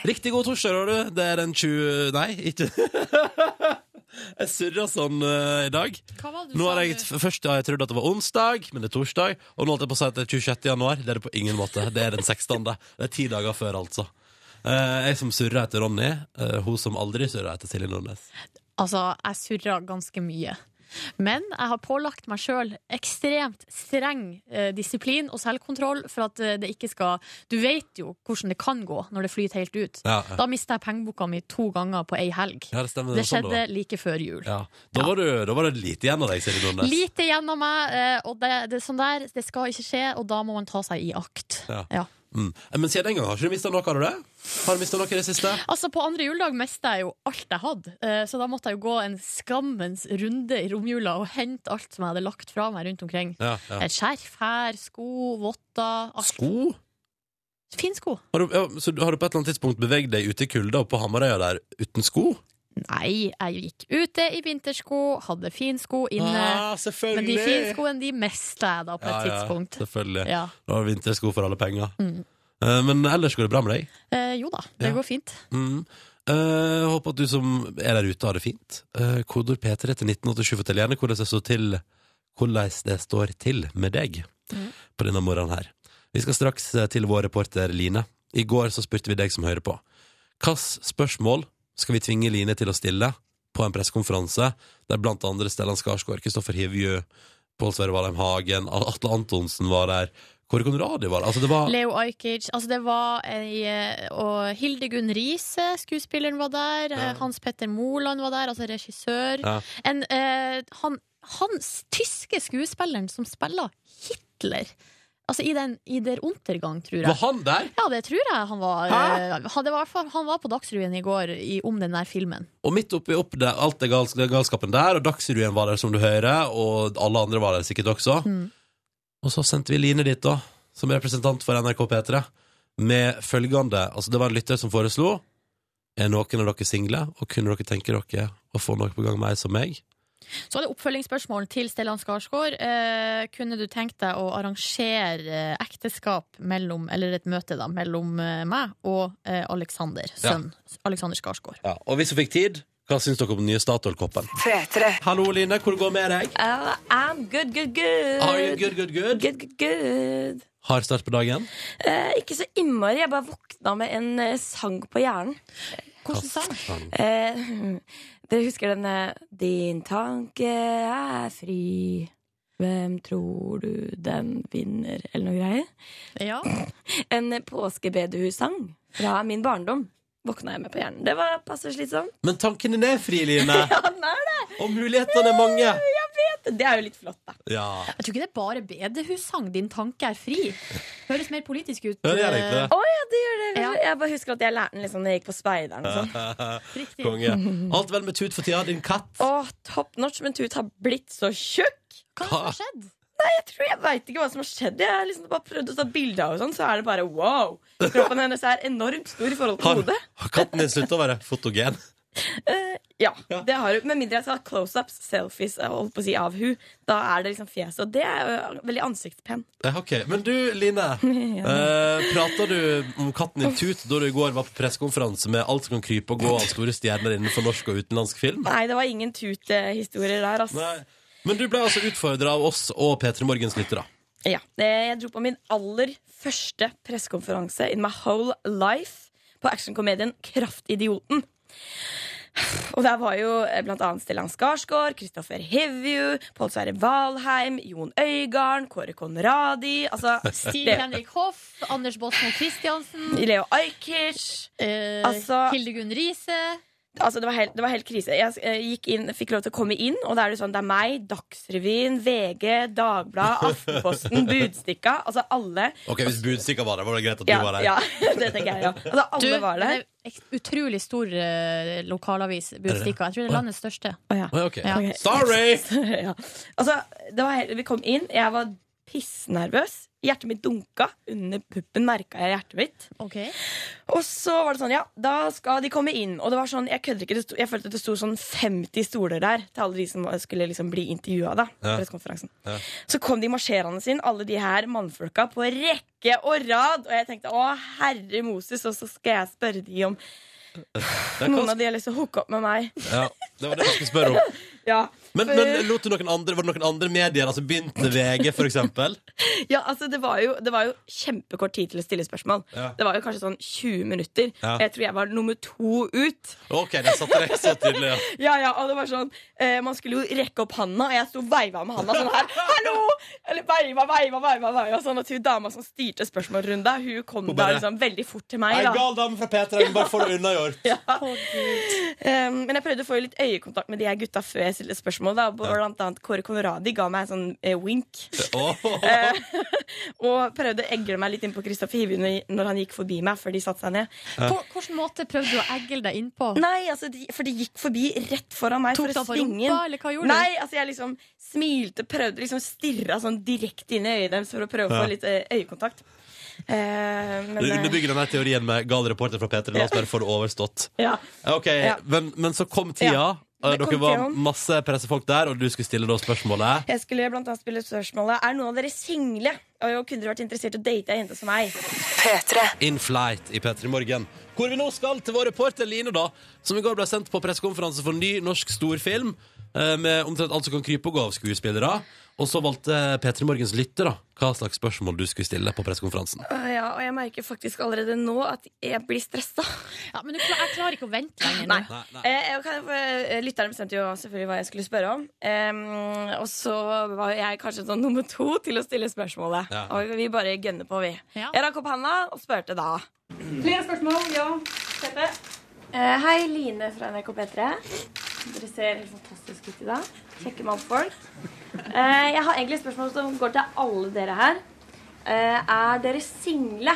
Riktig god torsdag, har du. Det er den 20... Nei, ikke Jeg surrer sånn eh, i dag. Hva var det du Nå har sa jeg, nå? f- først har jeg trodd at det var onsdag, men det er torsdag. Og nå holdt jeg på å si at det er 26. januar. Det er det på ingen måte. Det er den 16. Det er ti dager før, altså. Eh, jeg som surrer etter Ronny. eh, hun som aldri surrer etter Silje Nordnes. Altså, jeg surra ganske mye. Men jeg har pålagt meg sjøl ekstremt streng eh, disiplin og selvkontroll for at eh, det ikke skal Du vet jo hvordan det kan gå når det flyter helt ut. Ja, ja. Da mista jeg pengeboka mi to ganger på ei helg. Ja, det stemmer. det var sånn skjedde like før jul. var. Ja. Da, var du, da var det lite igjen av deg, Silje Nordnes. Lite gjennom meg, eh, og det, det, sånn der, det skal ikke skje, og da må man ta seg i akt. Ja. Ja. Mm. Men siden den gang har ikke du mista noe, har du det? Har du mista noe i det siste? Altså På andre juledag mista jeg jo alt jeg hadde, Eh, så da måtte jeg jo gå en skammens runde i romjula og hente alt som jeg hadde lagt fra meg rundt omkring. Ja, ja. Et skjerf her, sko, votter alt. Sko? Fin sko. Har du, ja, så du- har du på et eller annet tidspunkt beveget deg ute i kulda og på Hamarøya der uten sko? Nei, jeg gikk ute i vintersko, hadde finsko inne. Ah, selvfølgelig! eh, Men de finskoene de mista jeg da på et tidspunkt. Ja, selvfølgelig. Ja. Det var vintersko for alle penger. Eh, Men ellers går det bra med deg. Eh, jo da, det Ja. går fint. Mm. Eh, jeg håper at du som er der ute, har det fint. Eh, kodord P3 til 1987. Fortell gjerne hvordan det står til Hvordan det står til med deg på denne morgenen her. Vi skal straks eh, til vår reporter Line. I går så spurte vi deg som hører på. Hvilke spørsmål skal vi tvinge Line til å stille på en pressekonferanse der blant andre Stellan Skarsgård, Kristoffer Hivju, Pål Sverre Valheim Hagen, Atle Antonsen var der, Kåre Conradi var der? Altså, det var Leo Ajkic. Altså det var ei, eh, Og Hildegunn Riise, skuespilleren, var der. eh, Hans Petter Moland var der, altså regissør. Ja. En, eh, han, hans tyske skuespilleren som spiller Hitler. Altså i, den, i Der Untergang, tror jeg. Var han der? Ja, det tror jeg han var. Hæ? Eh, Han, det var i hvert fall- han var på Dagsrevyen i går i, om den der filmen. Og midt oppi opp det, alt det gals det galskapen der, og Dagsrevyen var der, som du hører, og alle andre var der sikkert også. Mm. Og så sendte vi Line dit, da, som representant for NRK P3, med følgende Altså, det var en lytter som foreslo Er noen av dere single, og kunne dere tenke dere å få noe på gang med ei som meg? Så er det oppfølgingsspørsmål til Stellan Skarsgård. Eh, kunne du tenkt deg å arrangere eh, ekteskap mellom, eller et møte da, mellom eh, meg og eh, Alexander, sønn Alexander Skarsgård? Ja, Og hvis hun fikk tid, hva syns dere om den nye Statoil-koppen? Hallo, Line, hvor går det med deg? Uh, I'm good, good, good. Eh, Are you good, good, good? Good, good, good. Hard start på dagen? Eh, ikke så innmari. Jeg bare våkna med en eh, sang på hjernen. Hvordan sang? Eh, dere husker den eh, Din tanke er fri. Hvem tror du den vinner? Eller noe greier. Ja. En eh, påskebedehussang fra min barndom. Våkna jeg med på hjernen. Det var passe slitsomt. Men tanken din er fri, Line, Ja, den er det! og mulighetene er mange. Det er jo litt flott, da. Ja, Jeg tror ikke det er bare bedehussang. Din tanke er fri. Høres mer politisk ut. eh, Ja, det er det ikke det. Å ja, det gjør det. Ja. Jeg bare husker at jeg lærte den liksom når jeg gikk på speideren. og sånn. eh, riktig. konge. Alt vel med tut for tida, din katt? Åh, top notch, men Tut har blitt så tjukk! Hva har skjedd? Jeg tror jeg veit ikke hva som har skjedd. Jeg har liksom bare prøvd å ta bilde av henne, og sånn, så er det bare wow! Kroppen hennes er enormt stor i forhold til Har, hodet. har katten din sluttet å være fotogen? Ja, det har hun. Med mindre jeg skal ha close-ups, selfies, jeg holdt på å si av hun Da er det liksom fjeset. Og det er jo veldig ansiktspen. Eh, Ok, Men du, Line. Eh, prata du om katten din Tut da du i går var på pressekonferanse med alt som kan krype og gå av store stjerner innenfor norsk og utenlandsk film? Nei, det var ingen Tut-historier der, altså. Nei. Men du ble altså utfordra av oss og P3 Morgens lyttere. Ja, det, jeg dro på min aller første pressekonferanse in my whole life på actionkomedien Kraftidioten. Og der var jo eh, blant annet Stellan Skarsgård, Kristoffer Hevju, Pål Sverre Valheim, Jon Øygarden, Kåre Konradi altså, Stig Leo- Henrik Hoff, Anders Båtsmo Christiansen, Leo Ajkic eh, Altså- Hildegunn Riise. Altså, det, var helt, det var helt krise. Jeg eh, gikk inn, fikk lov til å komme inn, og da er det sånn Det er meg, Dagsrevyen, VG, Dagbladet, Aftenposten, Budstikka. Altså alle. Ok, Hvis Budstikka var der, var det greit at du Ja, var der? ja, det tenker jeg, ja. Altså, alle var der. det er ek- utrolig stor eh, lokalavis, Budstikka. Jeg tror det er landets største. Oi, ok. Ja. Ok. Sorry! ja. Altså, det var helt, vi kom inn, jeg var pissnervøs. Hjertet mitt dunka. Under puppen merka jeg hjertet mitt. Og så var det sånn, ja, da skal de komme inn. Og det var sånn, jeg kødder ikke, det sto, jeg følte at det sto sånn 50 stoler der til alle de som skulle liksom bli intervjua, da. på Ja. pressekonferansen. Ja. Så kom de marsjerende inn, alle de her mannfolka, på rekke og rad. Og jeg tenkte, å herre Moses, og så skal jeg spørre de om Det, noen av de har lyst til å hooke opp med meg. ja, det var det jeg skulle spørre om. Ja, Men, for- men lot du noen andre, var det noen andre medier? Altså Begynte VG, for eksempel? Ja, altså det var, jo, det var jo kjempekort tid til å stille spørsmål. Ja. Det var jo kanskje sånn 20 minutter. Ja. Jeg tror jeg var nummer to ut. Ok, det satte deg så tydelig, ja. Ja, ja, og det var sånn eh, Man skulle jo rekke opp handa, og jeg sto og veiva med handa sånn her. Hallo! Eller veiva, veiva, veiva. veiva sånn at hun dama som styrte spørsmålrunda, hun kom da bare- liksom veldig fort til Ei meg. da gal dame fra P3, men bare få det unnagjort. Eh, Men jeg prøvde å få litt øyekontakt med de her gutta før jeg stilte spørsmål. da Blant annet Kåre Conradi ga meg en sånn eh, wink. Åh. Og prøvde å egle meg litt inn på Kristoffer Hivju når når han gikk forbi meg før de satte seg ned. På hvilken måte prøvde du å egle deg innpå? Nei, altså, de, for de gikk forbi rett foran meg Tok for du å han på svinge rumpa, inn. eller hva gjorde Nei, altså, jeg liksom smilte, prøvde, liksom stirra sånn direkte inn i øyet deres for å prøve å Ja. få litt eh, øyekontakt. Eh, men, Du eh, underbygger denne teorien med gal reporter fra P3. La oss bare få det overstått. ja. Ok, Ja. men, men så kom tida. Ja, Eh, det Dere kom var tida. masse pressefolk der, og du skulle stille da spørsmålet. Jeg skulle blant annet spille spørsmålet Er noen av dere single? Og jo, kunne dere vært interessert i å date ei jente som meg? In flight i P3 Morgen. Hvor vi nå skal til vår reporter Line, da, som i går ble sendt på pressekonferanse for ny norsk storfilm. eh, Med omtrent alt som kan krype og gå av skuespillere. Og så valgte P3 Morgens lytter da, hva slags spørsmål du skulle stille på pressekonferansen. Øh, ja, og jeg merker faktisk allerede nå at jeg blir stressa. Ja, men du, klar- jeg klarer ikke å vente lenger nå. Nei. Nei, nei. Eh, jeg kan, eh, lytterne bestemte jo selvfølgelig hva jeg skulle spørre om. Em, og så var jeg kanskje sånn nummer to til å stille spørsmålet. Ja. Og vi bare gønner på, vi. Ja. Jeg rakk opp handa og spurte da. Flere spørsmål? Ja. Eh, hei, Line fra NRK P3. Dere ser helt fantastisk ut i dag. Kjekke mannfolk. Eh, jeg har egentlig et spørsmål som går til alle dere her. Eh, er dere single?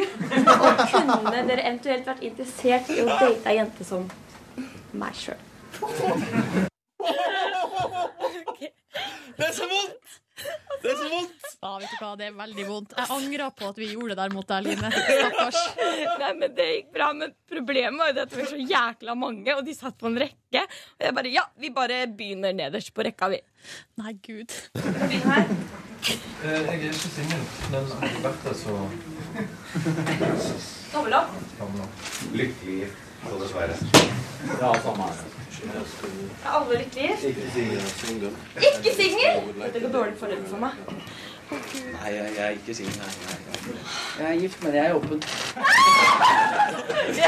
Og kunne dere eventuelt vært interessert i å date ei jente som meg sjøl? Det er så vondt! Det er så vondt! Ja, vet du hva, det er veldig vondt. Jeg angrer på at vi gjorde det der mot deg, Line. Stakkars. Nei, men Det gikk bra, men problemet var jo det at det var så jækla mange, og de satt på en rekke. Og jeg bare Ja, vi bare begynner nederst på rekka, vi. Nei, gud. Jeg er ikke singel, men har ikke vært det, så Tommel opp. Lykkelig gift, så dessverre. Ja, samme her. Er alle lykkelige? Ikke singel. Ikke singel! Dette går dårlig foreløpig for meg. Nei, jeg, jeg er ikke singel. nei, nei, nei. Jeg er gift, men jeg er åpen.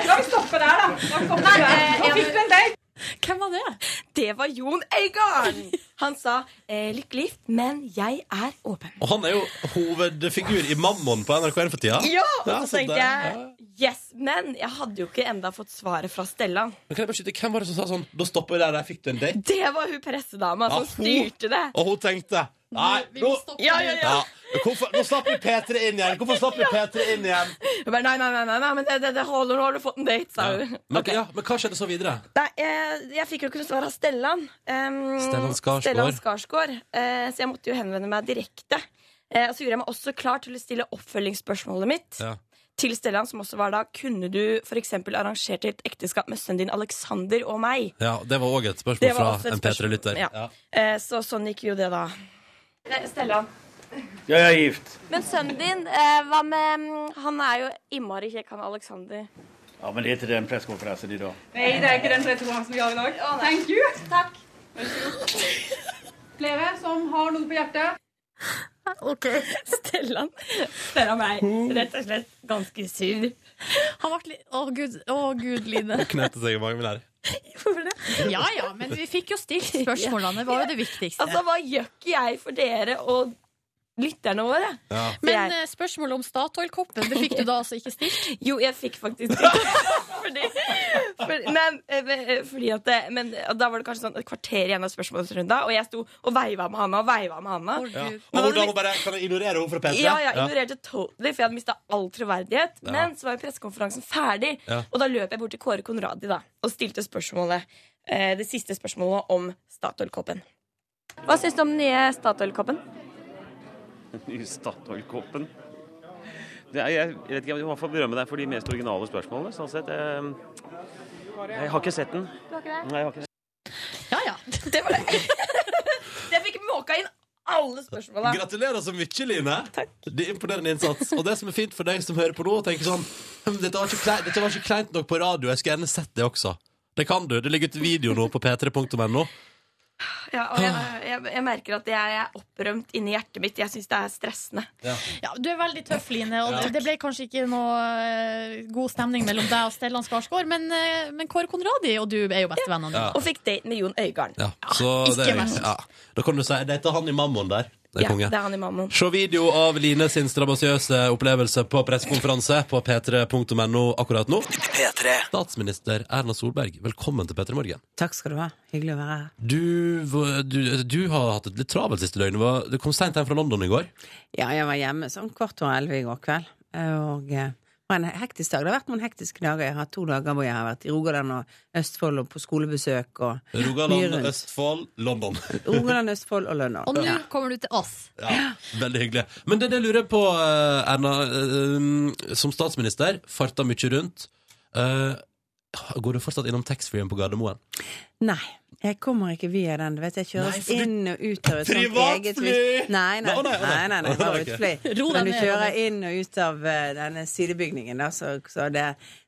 La oss stoppe der, da. Nei, eh, jeg- Hvem var det? Det var Jon Øygarden. Han sa eh, 'lykkelig gift, men jeg er åpen'. Og han er jo hovedfigur i Mammon på NRK1 for tida. Ja, og så så tenkte der, jeg yes, men jeg hadde jo ikke enda fått svaret fra Stellan. Men kan jeg bare skyte, Hvem var det som sa sånn Da stopper vi der, der fikk du en date. Det var hun pressedama Ja, som hun- styrte det. Og hun tenkte Nei, Vi nå må stoppe Ja, nå. ja, ja. ja. Hvorfor, nå slapp vi P3 inn igjen! Hvorfor slapp vi P3 inn igjen? Hun bare nei, nei, nei, nei, nei men det, det, det holder, nå har du fått en date, sa hun. Men, ja, men hva skjedde så videre? Nei, jeg, jeg fikk jo ikke noe svar av Stellan. Em, Stellan Skarsgård. Stellan Skarsgård. Eh, så jeg måtte jo henvende meg direkte. Eh, og så gjorde jeg meg også klar til å stille oppfølgingsspørsmålet mitt Ja. til Stellan, som også var da kunne du f.eks. arrangert et ekteskap med sønnen din Alexander og meg? Ja, Det var òg et Det spørsmål var fra også et en spørsmål, P3-lytter. ja. Eh, så sånn gikk jo det, da. Stellan. Jeg er gift. Men sønnen din, eh, hva med mm, Han er jo innmari kjekk, han Alexander. Ja, men det er ikke den pressekonferansen i dag. Nei, det er ikke den pressekonferansen vi har i dag. Thank you. Takk. Flere som har noe på hjertet? Stellan. Stellan meg. Rett og slett ganske sur. Han ble litt Å, gud, å, gud Line. Knete seg i magen der. Hvorfor det? Ja ja, men vi fikk jo stilt spørsmålene. Det var jo det viktigste. Altså, hva gjør ikke jeg for dere og lytterne våre? Altså, Men eh, spørsmålet om Statoil-koppen, det fikk du da altså ikke stilt? Jo, jeg fikk faktisk ikke. fordi, for, men, eh, men, eh, fordi at det, men eh, da var det kanskje sånn et kvarter igjen av spørsmålsrunda, og jeg sto og veiva med Hanna og veiva med Hanna. Å, Ja. gud. Og hun da må bare Kan jeg ignorere henne fra P3? Ja, jeg ignorerte totally, for jeg hadde mista all troverdighet. Ja. Men så var jo pressekonferansen ferdig, Ja. og da løp jeg bort til Kåre Konradi da, og stilte spørsmålet, eh, det siste spørsmålet om Statoil-koppen. Hva syns du om den nye Statoil-koppen? i Statoil-kåpen. Det er- Jeg jeg vet ikke, jeg må i hvert fall berømme deg for de mest originale spørsmålene. sånn sett. Jeg, jeg har ikke sett den. Nei, jeg har ikke det. Ja ja. Det var det. jeg fikk måka inn alle spørsmåla. Gratulerer så mye, Line. Det er imponerende innsats. Og det som er fint for deg som hører på nå, og tenker sånn «Hm, Dette var ikke kleint, dette var ikke kleint nok på radio. Jeg skulle gjerne sett det også. Det kan du. Det ligger ut video nå på p3.no. Ja, og jeg, jeg, jeg merker at jeg er opprømt inni hjertet mitt. Jeg syns det er stressende. Ja, Du er veldig tøff, Line. Og det- det ble kanskje ikke noe eh, god stemning mellom deg og Stellan Skarsgård, men, eh, men Kåre Konradi og du er jo bestevennene. Ja. Og fikk date med Jon Øigarden. Ja, så ikke det er, verst. ja. Da kan du si Det heter han i Mammon der. Det er Ja, konge. det er han i Mammon. Se video av Line sin strabasiøse opplevelse på pressekonferanse på p3.no akkurat nå. Statsminister Erna Solberg, velkommen til P3 Morgen. Takk skal du ha. Hyggelig å være her. Du, v- du, du har hatt et litt travelt siste døgn. Hva- Du kom seint hjem fra London i går. Ja, jeg var hjemme sånn kvart over elleve i går kveld. Og eh, var en hektisk dag. Det har vært noen hektiske dager. Jeg har hatt to dager hvor jeg har vært i Rogaland og Østfold og på skolebesøk og mye Rogaland, rundt. Østfold, London. Rogaland, Østfold og London. Og nå Ja. kommer du til oss. Ja, veldig hyggelig. Men det, det lurer jeg på, eh, Erna. eh, Som statsminister, farta mye rundt. Eh, Går du fortsatt innom taxfree-en på Gardermoen? Nei, jeg kommer ikke via den. Du vet, jeg Nei, kjøres for du- inn og ut av et sånt Privatfly! eget fly. Nei, nei, Å, nei, nei, å, nei, nei. Å, nei, det var bare et ikke. fly. Ro deg Men du ned, Ronny. kjører inn og ut av eh, denne sidebygningen, da, så, så det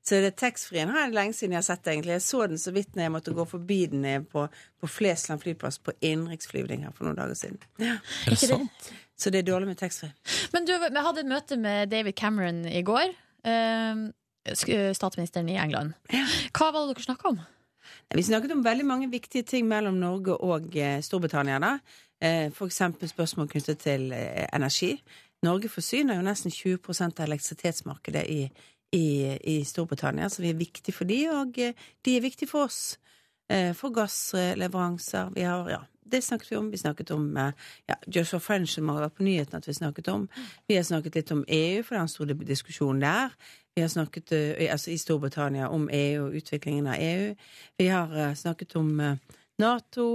Så det taxfree-en har jeg lenge siden jeg har sett, egentlig. Jeg så den så vidt når jeg måtte gå forbi den eh, på, på Flesland flyplass på innenriksflyvning her for noen dager siden. det Ikke det- sant? Så det er dårlig med taxfree. Men du, vi hadde et møte med David Cameron i går. eh, sk- Statsministeren i England. Hva var det dere snakka om? Vi snakket om veldig mange viktige ting mellom Norge og eh, Storbritannia. da. Eh, for eksempel spørsmål knyttet til eh, energi. Norge forsyner jo nesten 20 av elektrisitetsmarkedet i, i, i Storbritannia, så vi er viktige for de, og eh, de er viktige for oss. Eh, for gassleveranser. Vi har, ja, det snakket vi om. Vi snakket om eh, ja, Joshua French, som har vært på nyheten at vi snakket om. Vi har snakket litt om EU, for det er en stor diskusjon der. Vi har snakket eh, i- altså i Storbritannia om EU og utviklingen av EU. Vi har eh, snakket om eh, Nato.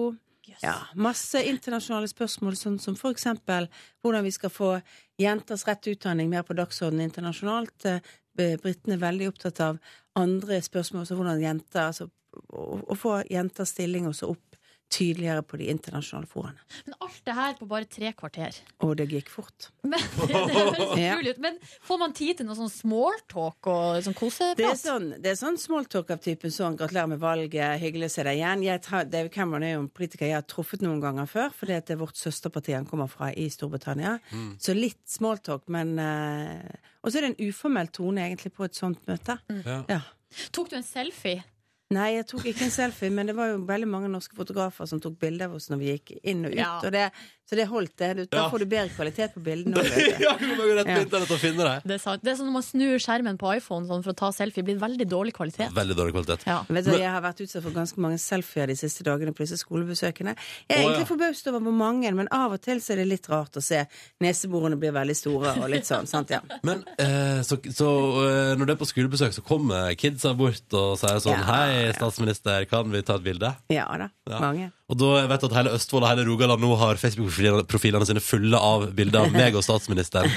Ja, masse internasjonale spørsmål, sånn som for eksempel hvordan vi skal få jenters rett til utdanning mer på dagsordenen internasjonalt. Eh, Britene er veldig opptatt av andre spørsmål, så hvordan jenter altså, å, å få jenters stilling også opp tydeligere på de internasjonale foraene. Men alt det her på bare tre kvarter. Og det gikk fort. Men, det høres Ja. utrolig ut. Men får man tid til noe sånn smalltalk og sånn koseprat? Det er sånn, det er sånn smalltalk av typen sånn 'gratulerer med valget', 'hyggelig å se deg igjen'. Jeg tar, David Cameron er jo en politiker jeg har truffet noen ganger før, fordi at det er vårt søsterparti han kommer fra i Storbritannia. Mm. Så litt smalltalk, men eh, Og så er det en uformell tone egentlig på et sånt møte. Ja. Ja. Tok du en selfie? Nei, jeg tok ikke en selfie, men det var jo veldig mange norske fotografer som tok bilder av oss når vi gikk inn og ut, Ja. og det, så det holdt, det. Du- Da Ja. får du bedre kvalitet på bildene. også, vet du. Ja, du må gå rett på Ja. internett og finne det. Det er, sant. det er sånn når man snur skjermen på iPhone sånn for å ta selfie, blir det veldig dårlig kvalitet. Veldig dårlig kvalitet. Vet du, Men- jeg har vært utsatt for ganske mange selfier de siste dagene på disse skolebesøkene. Jeg Å, er ja. egentlig forbaust over hvor mange, men av og til så er det litt rart å se neseborene blir veldig store og litt sånn. sant, ja. Men eh, så, så eh, når du er på skolebesøk, så kommer kidsa bort og sier sånn Ja, Hei, statsminister, kan vi ta et bilde? Ja da. Ja. Mange. Og da jeg vet at hele Østfold og hele Rogaland nå har Facebook-profilene sine fulle av bilder av meg og statsministeren.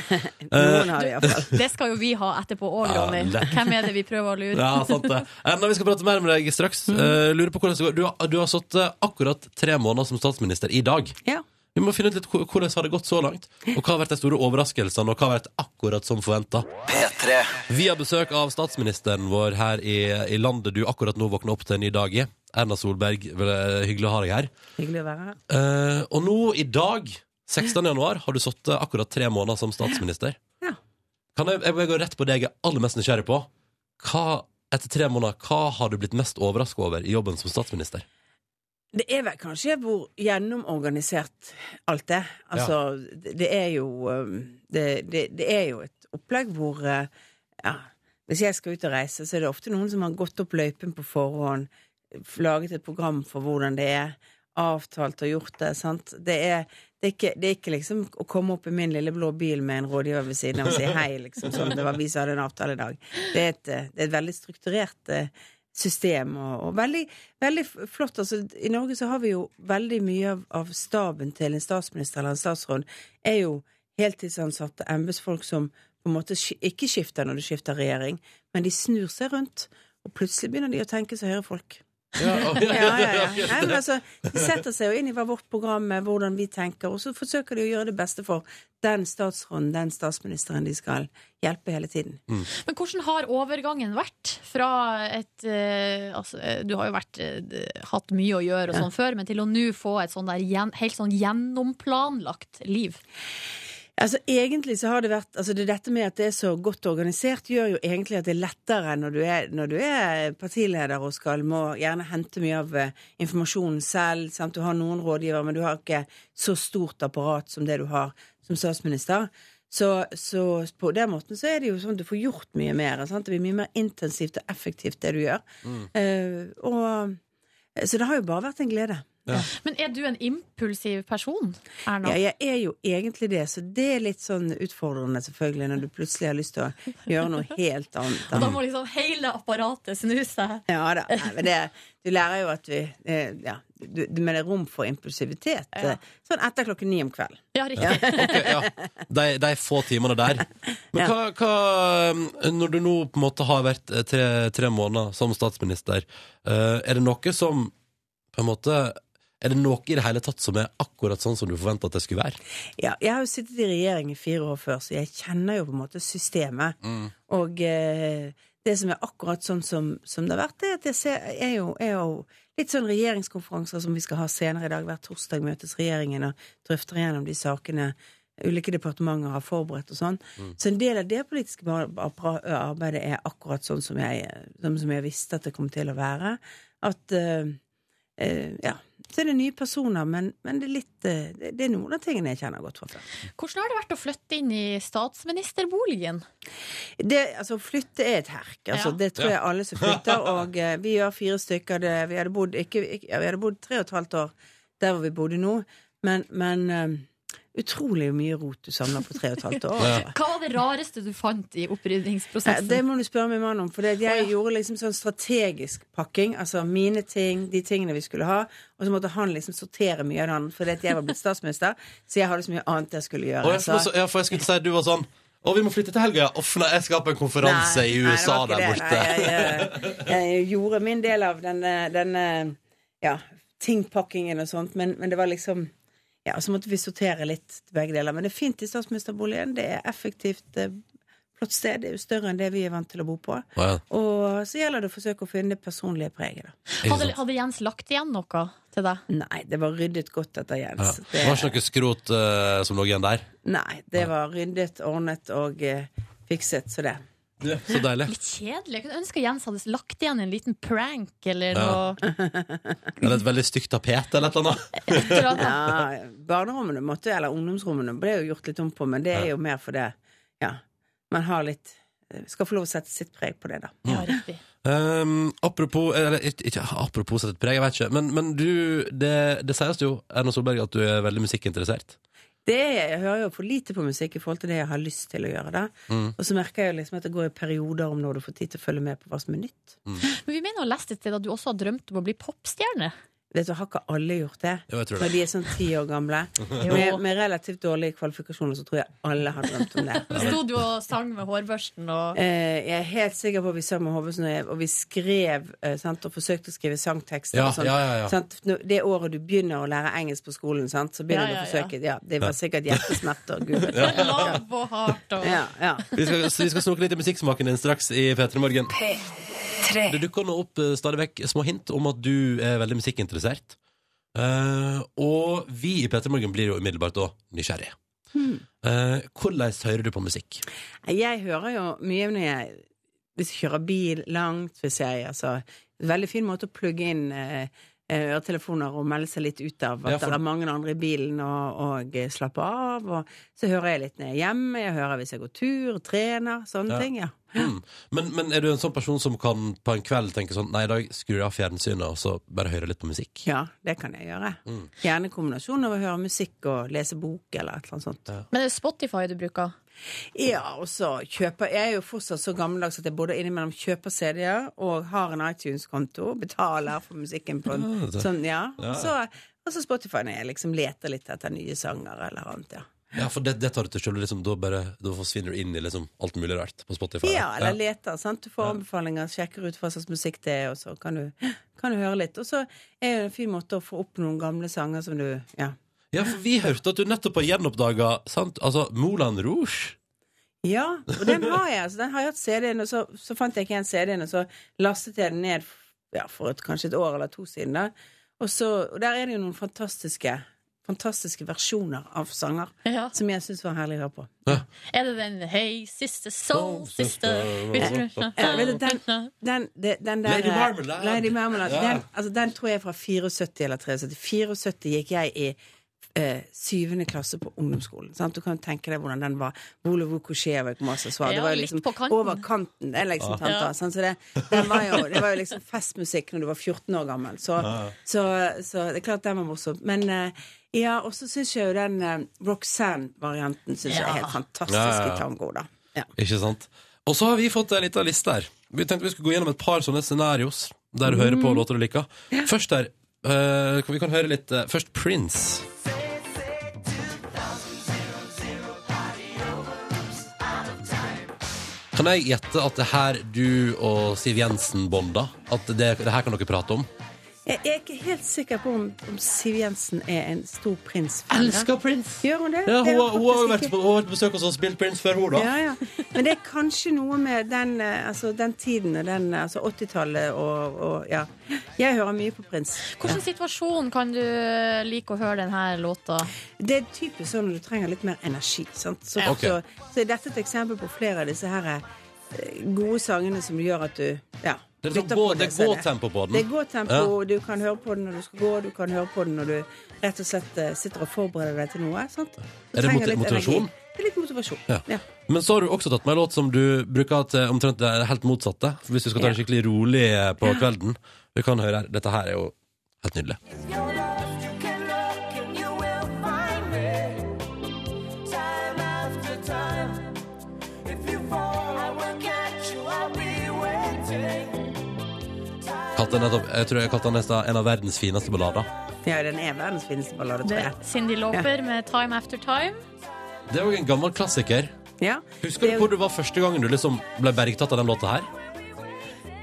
Noen har det i hvert fall. Det skal jo vi ha etterpå òg, Ja, Ronny. lett. Hvem er det vi prøver å lure? Ja, altså- sant det. Erna, vi skal prate mer med deg straks. Mm. Eh, lurer på hvordan det går. Du har, du har satt akkurat tre måneder som statsminister i dag. Ja. Vi må finne ut litt hvor- hvordan har det gått så langt, og hva har vært de store overraskelsene, og hva har vært akkurat som forventa. Vi har besøk av statsministeren vår her i, i landet du akkurat nå våkner opp til en ny dag i. Erna Solberg, vel, eh, hyggelig å ha deg her. Hyggelig å være her. Eh, og nå, i dag, 16. januar, har du sittet akkurat tre måneder som statsminister. Ja. Kan jeg, jeg går rett på det jeg er aller mest nysgjerrig på. Hva, etter tre måneder, hva har du blitt mest overraska over i jobben som statsminister? Det er vel kanskje hvor gjennomorganisert alt er. Altså, det, det er jo um, det, det, det er jo et opplegg hvor uh, ja, Hvis jeg skal ut og reise, så er det ofte noen som har gått opp løypen på forhånd, f- laget et program for hvordan det er, avtalt og gjort det. sant? Det er, det er, ikke, det er ikke liksom å komme opp i min lille blå bil med en rådgiver ved siden av og si hei, liksom, sånn. Det var vi som hadde en avtale i dag. Det er et, eh, det er et veldig strukturert eh, system. Og, og veldig, veldig f- flott. Altså, I Norge så har vi jo veldig mye av, av staben til en statsminister eller en statsråd er jo heltidsansatte embetsfolk som på en måte sk- ikke skifter når du skifter regjering, men de snur seg rundt, og plutselig begynner de å tenke som høyrefolk. Ja, ja, ja, ja. Nei, men altså, de setter seg jo inn i hva vårt program er, hvordan vi tenker, og så forsøker de å gjøre det beste for den statsråden, den statsministeren de skal hjelpe hele tiden. Men hvordan har overgangen vært fra et eh, altså, eh, Du har jo vært, eh, hatt mye å gjøre og sånn før, men til å nå få et sånn der gjen, helt sånn gjennomplanlagt liv? Altså Egentlig så har det vært altså det, Dette med at det er så godt organisert, gjør jo egentlig at det er lettere når du er, når du er partileder og skal må gjerne hente mye av eh, informasjonen selv. Sant? Du har noen rådgivere, men du har ikke så stort apparat som det du har som statsminister. Så, så på den måten så er det jo sånn at du får gjort mye mer. Sant? Det blir mye mer intensivt og effektivt, det du gjør. Eh, og, så det eh, har jo bare vært en glede. Ja. Men er du en impulsiv person, Erna? Ja, jeg er jo egentlig det, så det er litt sånn utfordrende selvfølgelig når du plutselig har lyst til å gjøre noe helt annet. Og da må liksom hele apparatet snu seg. Ja da. Nei, men det, du lærer jo at vi eh, ja, du, du, Men det er rom for impulsivitet. eh, Sånn etter klokken ni om kvelden. Ja, riktig. Ok, ja. de, de få timene der. Men hva, hva Når du nå på en måte har vært eh, tre, tre måneder som statsminister, eh, er det noe som på en måte Er det noe i det hele tatt som er akkurat sånn som du forventa at det skulle være? Ja, jeg har jo sittet i regjering i fire år før, så jeg kjenner jo på en måte systemet. Og eh, det som er akkurat sånn som, som det har vært, det er at jeg ser, er, jo, er jo litt sånn regjeringskonferanser som vi skal ha senere i dag. Hver torsdag møtes regjeringen og drøfter gjennom de sakene ulike departementer har forberedt og sånn. Mm. Så en del av det politiske bar- appara- arbeidet er akkurat sånn som jeg, som, som jeg visste at det kom til å være. At eh, eh, ja, så er det nye personer, men, men det, er litt, eh, det, det er noen av tingene jeg kjenner godt fra før. Hvordan har det vært å flytte inn i statsministerboligen? Det, altså, flytte er et herk. Altså, Ja. Det tror jeg Ja. alle som flytter. Og eh, vi gjør fire stykker. Det, vi, hadde bodd, ikke, ikke, ja, vi hadde bodd tre og et halvt år der hvor vi bodde nå. Men, men eh, utrolig mye rot du samler på tre og et halvt år. altså. Hva var det rareste du fant i Eh, opprydningsprosessen? Det må du spørre min mann om, for det at jeg gjorde liksom sånn strategisk pakking. Altså mine ting, de tingene vi skulle ha. Og så måtte han liksom sortere mye av det andre, fordi at jeg var blitt statsminister. Så jeg hadde så mye annet jeg skulle Og gjøre. altså. jeg, for, ja, for jeg skulle si at du var sånn Å, vi må flytte til helga! Uff, nei, jeg skal på en konferanse Nei, i nei, det USA var ikke der det. borte. Nei, jeg, eh, jeg gjorde min del av denne, denne ja, tingpakkingen og sånt, men, men det var liksom Ja, så måtte vi sortere litt begge deler. Men det er fint i statsministerboligen. Det er effektivt. eh, Flott sted. Det er jo større enn det vi er vant til å bo på. Og så gjelder det å forsøke å finne det personlige preget, da. Hadde, hadde Jens lagt igjen noe til deg? Nei, det var ryddet godt etter Jens. Ja. Det var ikke noe skrot eh, som lå igjen der? Nei, det var ryddet, ordnet og eh, fikset, så det. Så deilig. Litt kjedelig. Jeg kunne ønske Jens hadde lagt igjen en liten prank eller Ja. noe. Eller et veldig stygt tapet eller et eller annet? Ja, barnerommene måtte, eller ungdomsrommene ble jo gjort litt om på, men det er jo mer for det Ja, man har litt eh, Skal få lov å sette sitt preg på det, da. Um, apropos Eller ikke, ikke apropos sette et preg, jeg vet ikke. Men, men du, det, det sies jo, Erna Solberg, at du er veldig musikkinteressert. Det, jeg hører jo for lite på musikk i forhold til det jeg har lyst til å gjøre, da. Mm. Og så merker jeg jo liksom at det går i perioder om når du får tid til å følge med på hva som er nytt. Men vi mener å ha lest et sted at du også har drømt om å bli popstjerne. Vet du, Har ikke alle gjort det? Jo, jeg tror det. Når de er sånn ti år gamle. Jo. Med, med relativt dårlige kvalifikasjoner så tror jeg alle har drømt om det. Sto du og sang med hårbørsten og Eh, jeg er helt sikker på at vi sang med Hovesen, og jeg- og vi skrev eh, sant, og forsøkte å skrive sangtekster. Ja, og sånt, ja, ja, ja. Sant? Nå- Det året du begynner å lære engelsk på skolen, sant, så Ja, begynner du ja, å ja. forsøke. Ja, det var sikkert hjertesmerter. Gud. Ja. Love og heart og Ja, ja. Vi skal, vi skal snoke litt i musikksmaken din straks i P3 Morgen. Det dukker nå opp eh, stadig vekk små hint om at du er veldig musikkinteressert. Eh, og vi i P3 Morgen blir jo umiddelbart da nysgjerrige. Hmm. Eh, hvordan hører du på musikk? Jeg hører jo mye når jeg Hvis jeg kjører bil langt, hvis jeg altså Veldig fin måte å plugge inn eh, eh, øretelefoner og melde seg litt ut av at Ja, for- det er mange andre i bilen, og, og eh, slappe av. Og så hører jeg litt når jeg er hjemme, jeg hører hvis jeg går tur, trener, sånne Ja. ting. ja. Mm. Men, men er du en sånn person som kan på en kveld tenke sånn Nei, i dag skrur jeg av fjernsynet og så bare hører jeg litt på musikk? Ja, det kan jeg gjøre. Mm. Gjerne kombinasjon av å høre musikk og lese bok eller et eller annet sånt. Men det er Spotify du bruker? Ja, og så kjøper Jeg er jo fortsatt så gammeldags at jeg både innimellom kjøper CD-er og har en iTunes-konto, betaler for musikken på en Ja, det- sånn, ja. Ja. Så, og så Spotify når jeg liksom leter litt etter nye sanger eller annet, ja. Ja, for det, det tar du til selv, liksom, da, bare, da forsvinner du inn i liksom, alt mulig rart på Spotify. Ja, eller leter, sant. Du får anbefalinger, sjekker ut hva slags musikk det er, og så kan du, kan du høre litt. Og så er det en fin måte å få opp noen gamle sanger som du Ja. Ja, for vi hørte at du nettopp har gjenoppdaga altså, Moulin Rouge. Ja, og den har jeg. Altså, den har jeg hatt CD-en, og så, så fant jeg ikke igjen CD-en, og så lastet jeg den ned ja, for et, kanskje et år eller to siden. Da. Og, så, og der er det jo noen fantastiske, fantastiske versjoner av sanger som jeg syns var herlig å høre på. Er det den Hey sister, soul sister Ja, vet du, den, den, den, den der, Lady eh, Marmalade. Lady Marmalade, Ja. den, altså, den tror jeg er fra 74 eller 73. 74 gikk jeg i eh, syvende klasse på ungdomsskolen. Sant? Du kan jo tenke deg hvordan den var. Vole Vukusjeva kom også og svar. Ja, det var jo litt liksom på kanten. over kanten. Det er liksom Ja. tanta. Ja. Sant? Så det, den var jo, det var jo liksom festmusikk når du var 14 år gammel. Så, Ja. så, så det er klart den var morsom. Men eh, ja, og så syns jeg jo den eh, Roxanne-varianten synes jeg Ja. er helt fantastisk Ja, ja, ja. i tango, da. Ikke sant? Og så har vi fått en liten liste her. Vi tenkte vi skulle gå gjennom et par sånne scenarios der du hører Mm. på låter du liker. Først der eh, Vi kan høre litt eh, Først Prince. Kan jeg gjette at det her du og Siv Jensen bonda? At det, det her kan dere prate om? Jeg jeg er ikke helt sikker på om, om Siv Jensen er en stor prins. Elsker prins! Gjør hun det? Ja, Det hun, er har- hun har jo faktisk vært ikke- på, hun har vært på besøk hos oss og spilt Prince før, hun, da. Ja, ja. Men det er kanskje noe med den, eh, altså, den tiden og den eh, altså 80-tallet og, og ja. Jeg hører mye på Prins. Hvilken situasjon kan du like å høre denne låta? Det er typisk sånn når du trenger litt mer energi. Sant? Så, Ja. Ok. så, så er dette et eksempel på flere av disse her eh, gode sangene som gjør at du ja, Det er sånn lytter gå- på det er så er gåtempo på den. Det er gåtempo, Ja. og du kan høre på den når du skal gå, du kan høre på den når du rett og slett eh, sitter og forbereder deg til noe. Sant? Du Er det trenger mot- litt motivasjon? energi. Det er litt motivasjon. Ja. Ja. Men så har du også tatt med en låt som du bruker til omtrent det helt motsatte. Hvis du skal ta det skikkelig rolig eh, på kvelden. Vi kan høre her. Dette her er jo helt nydelig. Kalte den nettopp, jeg tror jeg kalte den nesten en av verdens fineste ballader. Ja, den er verdens fineste ballade, tror Det, jeg. Cindy Lauper med 'Time After Time'. Det er jo en gammel klassiker. Ja. Husker du hvor du var første gangen du liksom ble bergtatt av den låta her?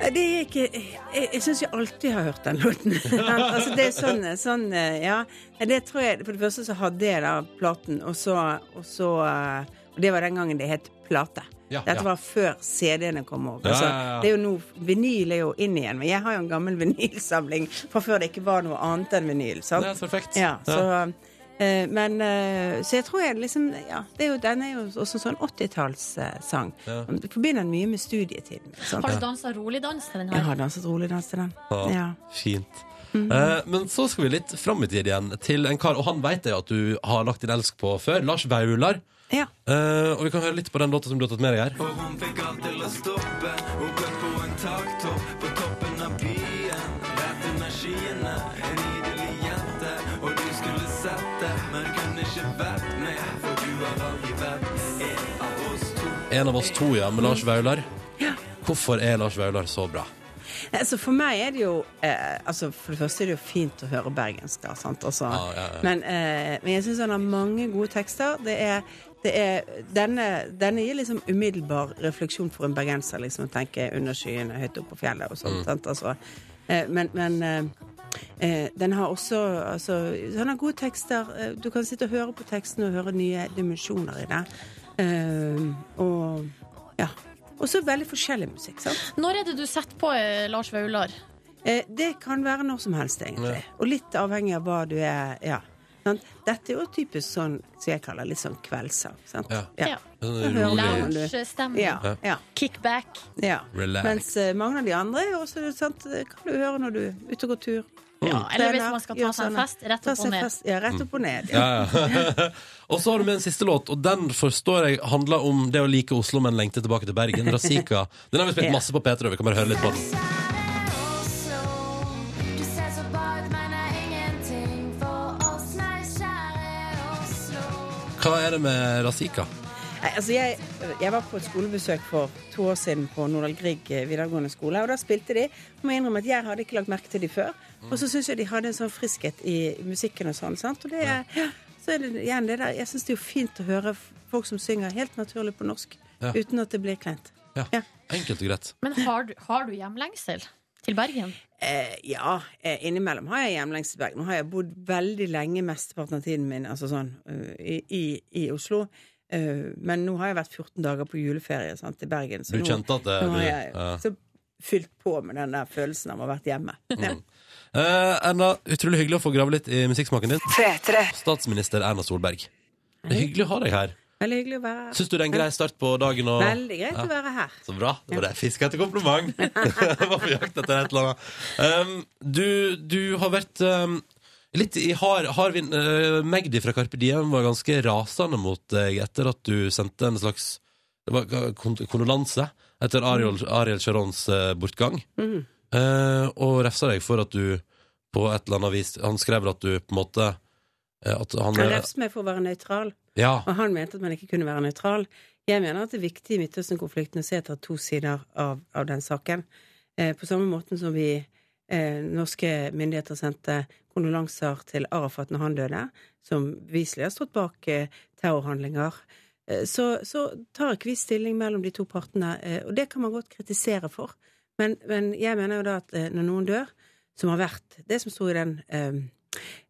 Eh, Det er ikke Jeg, jeg syns jeg alltid har hørt den låten. altså, det er sånn, sånn Ja. Det tror jeg For det første så hadde jeg da platen, og så Og så, eh, og det var den gangen det het plate. Ja, Dette ja. var før CD-ene kom over. Ja, Altså, ja, ja. Det er jo nå, Vinyl er jo inn igjen, men jeg har jo en gammel vinylsamling fra før det ikke var noe annet enn vinyl. Sant? Det er perfekt. Ja, Ja. så, eh, men, eh, så jeg tror jeg liksom ja, det er jo, Den er jo også sånn 80-tallssang. Ja. Du forbinder den mye med studietiden. sant? Har du dansa rolig dans til den Jeg her? har danset rolig dans til den. Ja, Ja. Fint. Mhm. Eh, men så skal vi litt fram i tid igjen til en kar, og han veit jeg at du har lagt din elsk på før. Lars Vaular. Ja. Eh, og vi kan høre litt på den låta som du har tatt med deg her. Og hun fikk alt til å stoppe. Hun kløp på en taktopp på toppen av byen. Rett under skyene, en idelig jente. Og du skulle sett det, men kunne ikke vært med. For du har aldri vært en av oss to. En av oss to, ja, med Lars Vaular. Hvorfor er Lars Vaular så bra? Altså, for meg er det jo eh, altså, For det første er det jo fint å høre bergensk, da. Sant? Altså, ja. Men, eh, men jeg syns han har mange gode tekster. Det er, det er, denne, denne gir liksom umiddelbar refleksjon for en bergenser. Liksom, å tenke under skyene, høyt oppe på fjellet og sånt. Mm. Sant? Altså, eh, men men eh, Eh, den har også altså, Han har gode tekster. Eh, Du kan sitte og høre på teksten og høre nye dimensjoner i det. Eh, og ja. Også veldig forskjellig musikk, sant? Når er det du setter på eh, Lars Vaular? Eh, det kan være når som helst, egentlig. Og litt avhengig av hva du er. Ja. Sant? Dette er jo typisk sånn som jeg kaller litt sånn kveldssang. Sant? Ja. Ja. Sånn Da hører rolig- man det. Lounge-stemning. Ja, ja. Kickback. Ja. Relax. Mens eh, mange av de andre er jo også, sant, kan du høre når du er ute og går tur. Ja, eller hvis Trener, man skal ta gjør seg en sånne- fest, rett ta opp og seg en ned. fest, Ja, rett opp og ned. Ja, ja. og så har du med en siste låt, og den forstår jeg handler om det å like Oslo, men lengte tilbake til Bergen. Razika. Den har vi spilt Ja. masse på P3, og vi kan bare høre litt på den. Du ser så bra ut, men er ingenting for oss, nei, kjære Oslo. Hva er det med Razika? Nei, altså jeg, jeg var på et skolebesøk for to år siden på Nordahl Grieg eh, videregående skole, og da spilte de. Jeg må innrømme at jeg hadde ikke lagt merke til de før. Og så syns jeg de hadde en sånn friskhet i musikken og sånn. sant? Og det er, ja, så er det igjen det der. Jeg syns det er jo fint å høre f- folk som synger helt naturlig på norsk, Ja. uten at det blir kleint. Ja. Enkelt og greit. Men har du, har du hjemlengsel til Bergen? Eh, ja, eh, innimellom har jeg hjemlengst i Bergen. Nå har jeg bodd veldig lenge mesteparten av tiden min altså sånn, eh, i, i, i Oslo. Eh, men nå har jeg vært 14 dager på juleferie sant, i Bergen. Du nå, kjente at det- nå har du- jeg ja. så fylt på med den der følelsen av å ha vært hjemme. Ja. Eh, Erna, utrolig hyggelig å få grave litt i musikksmaken din. Statsminister Erna Solberg. Det er hyggelig å ha deg her. Veldig hyggelig å være her. Syns du det er en grei start på dagen? Og... Veldig greit Ja. å være her. Så bra. Det var det jeg fiska etter kompliment. Jeg var på jakt etter et eller annet. Um, du, du har vært um, Litt i hard, hard vind. Eh, Magdi fra Carpe Diem var ganske rasende mot deg etter at du sendte en slags det var eh, kon- kondolanse etter Ariel, Mm. Ariel Sharons eh, bortgang. Mhm. Eh, og refsa deg for at du på et eller annet vis Han skrev vel at du på en måte eh, At han Han refser meg for å være nøytral, Ja. og han mente at man ikke kunne være nøytral. Jeg mener at det er viktig i Midtøsten-konflikten å se etter to sider av, av den saken. Eh, på samme måten som vi eh, norske myndigheter sendte kondolanser til Arafat når han døde, som viselig har stått bak eh, terrorhandlinger, eh, så, så tar ikke vi stilling mellom de to partene. Eh, og det kan man godt kritisere for. Men, men jeg mener jo da at eh, når noen dør, som har vært det som sto i den eh,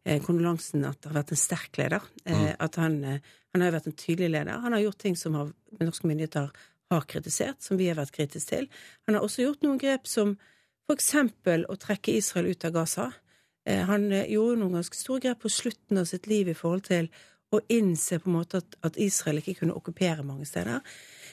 eh, kondolansen at det har vært en sterk leder. Eh, Mm. at han, eh, han har jo vært en tydelig leder. Han har gjort ting som har, norske myndigheter har kritisert, som vi har vært kritiske til. Han har også gjort noen grep som f.eks. å trekke Israel ut av Gaza. Eh, han eh, gjorde noen ganske store grep på slutten av sitt liv i forhold til å innse på en måte at, at Israel ikke kunne okkupere mange steder.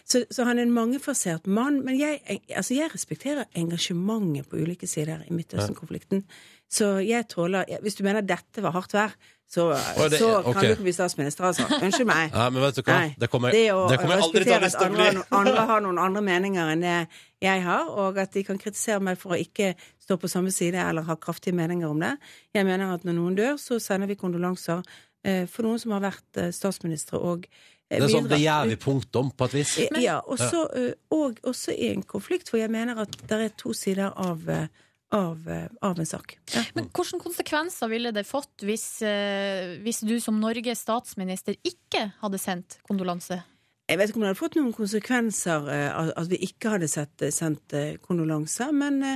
Så, så han er en mangefasert mann. Men jeg, altså jeg respekterer engasjementet på ulike sider i Midtøsten-konflikten. Så jeg tåler Hvis du mener dette var hardt vær, så, Å, det- så ok. kan du ikke bli statsminister, altså. Unnskyld meg. Nei, men vet du hva? Nei. Det kommer Det jeg, altså, å det kommer jeg aldri til å respektere ha lyst at til å bli. andre, har noen- andre har noen andre meninger enn det jeg har, og at de kan kritisere meg for å ikke stå på samme side eller ha kraftige meninger om det. Jeg mener at når noen dør, så sender vi kondolanser eh, for noen som har vært eh, statsministre og eh, Det er sånn, bidratt Eh, det gjør vi punktum, på et vis. ja, også, ø, og også i en konflikt, for jeg mener at det er to sider av, ø, av, ø, av en sak. Ja. Men hvilke konsekvenser ville det fått hvis, eh, hvis du som Norges statsminister ikke hadde sendt kondolanse? Jeg vet ikke om det hadde fått noen konsekvenser ø, at- at vi ikke hadde sett, eh, sendt ø, kondolanser, men ø,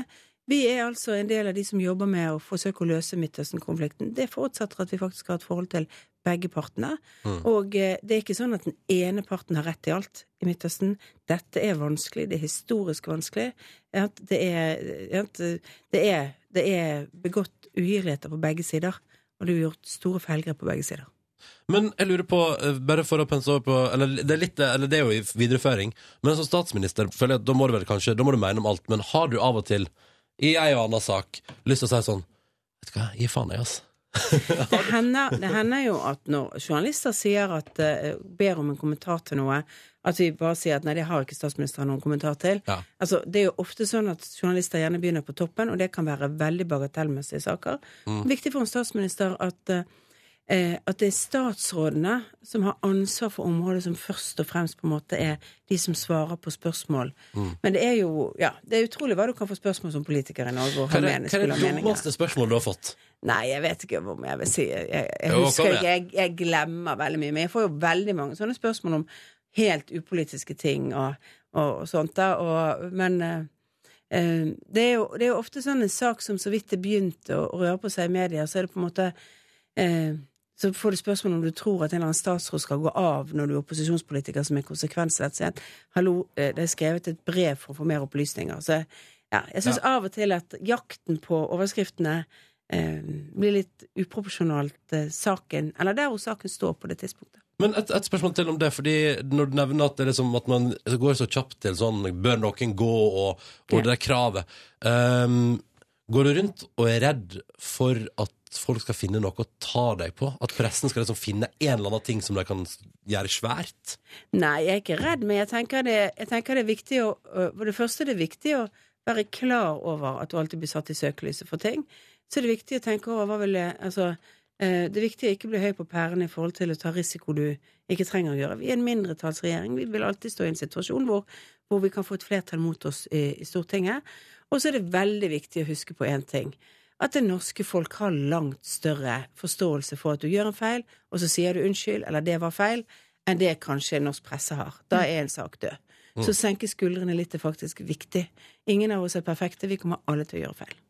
vi er altså en del av de som jobber med å forsøke å løse Midtøsten-konflikten. Det forutsetter at vi faktisk har et forhold til begge partene. Mm. Og eh, det er ikke sånn at den ene parten har rett i alt i Midtøsten. Dette er vanskelig, det er historisk vanskelig. At Det er, at eh, det er, det er begått uhyrligheter på begge sider, og det er gjort store feilgrep på begge sider. Men jeg lurer på, eh, bare for å pense over på Eller det er, litt, eller det er jo i videreføring, men som statsminister føler jeg at da må du vel kanskje Da må du mene om alt, men har du av og til, i ei og anna sak, lyst til å si sånn Vet du hva, gi faen, jeg, altså. Det hender, det hender jo at når journalister sier at, eh, ber om en kommentar til noe, at vi bare sier at nei, det har ikke statsministeren noen kommentar til. Altså, det er jo ofte sånn at journalister gjerne begynner på toppen, og det kan være veldig bagatellmessige saker. Mm. Viktig for en statsminister at, eh, eh, at det er statsrådene som har ansvar for området som først og fremst på en måte er de som svarer på spørsmål. Men det er jo ja, det er utrolig hva du kan få spørsmål som politiker i Norge. og Hva ha er det, mening- hva er skulle ha det meninger. dummeste spørsmålet du har fått? Nei, jeg vet ikke om jeg vil si Jeg, jeg Jo, husker kom ikke, jeg, jeg glemmer veldig mye. Men jeg får jo veldig mange sånne spørsmål om helt upolitiske ting og, og, og sånt. Da, og, men eh, eh, det, er jo, det er jo ofte sånn en sak som så vidt det begynte å, å røre på seg i media, så er det på en måte eh, så får du spørsmål om du tror at en eller annen statsråd skal gå av når du er opposisjonspolitiker, som en konsekvens av dette. Så jeg, Hallo, eh, det er skrevet et brev for å få mer opplysninger. Så ja, jeg syns av og til at jakten på overskriftene eh, blir litt uproporsjonalt eh, saken, eller der hvor saken står på det tidspunktet. Men et, et spørsmål til om det, fordi når du nevner at, det er liksom at man går så kjapt til sånn Bør noen gå, og, og det der kravet ehm, Går du rundt og er redd for at folk skal finne noe å ta deg på? At pressen skal liksom finne en eller annen ting som de kan gjøre svært? Nei, jeg er ikke redd, men jeg tenker det, jeg tenker det er viktig å øh, For det første er det viktig å være klar over at du alltid blir satt i søkelyset for ting. Så er det viktig å tenke over hva vil jeg Altså, øh, det er viktig å ikke bli høy på pærene i forhold til å ta risiko du ikke trenger å gjøre. Vi er en mindretallsregjering. Vi vil alltid stå i en situasjon hvor, hvor vi kan få et flertall mot oss i, i Stortinget. Og så er det veldig viktig å huske på én ting. At det norske folk har langt større forståelse for at du gjør en feil, og så sier du unnskyld, eller det var feil enn det kanskje norsk presse har. Da er en sak død. Mm. Så senke skuldrene litt er faktisk viktig. Ingen av oss er perfekte. Vi kommer alle til å gjøre feil.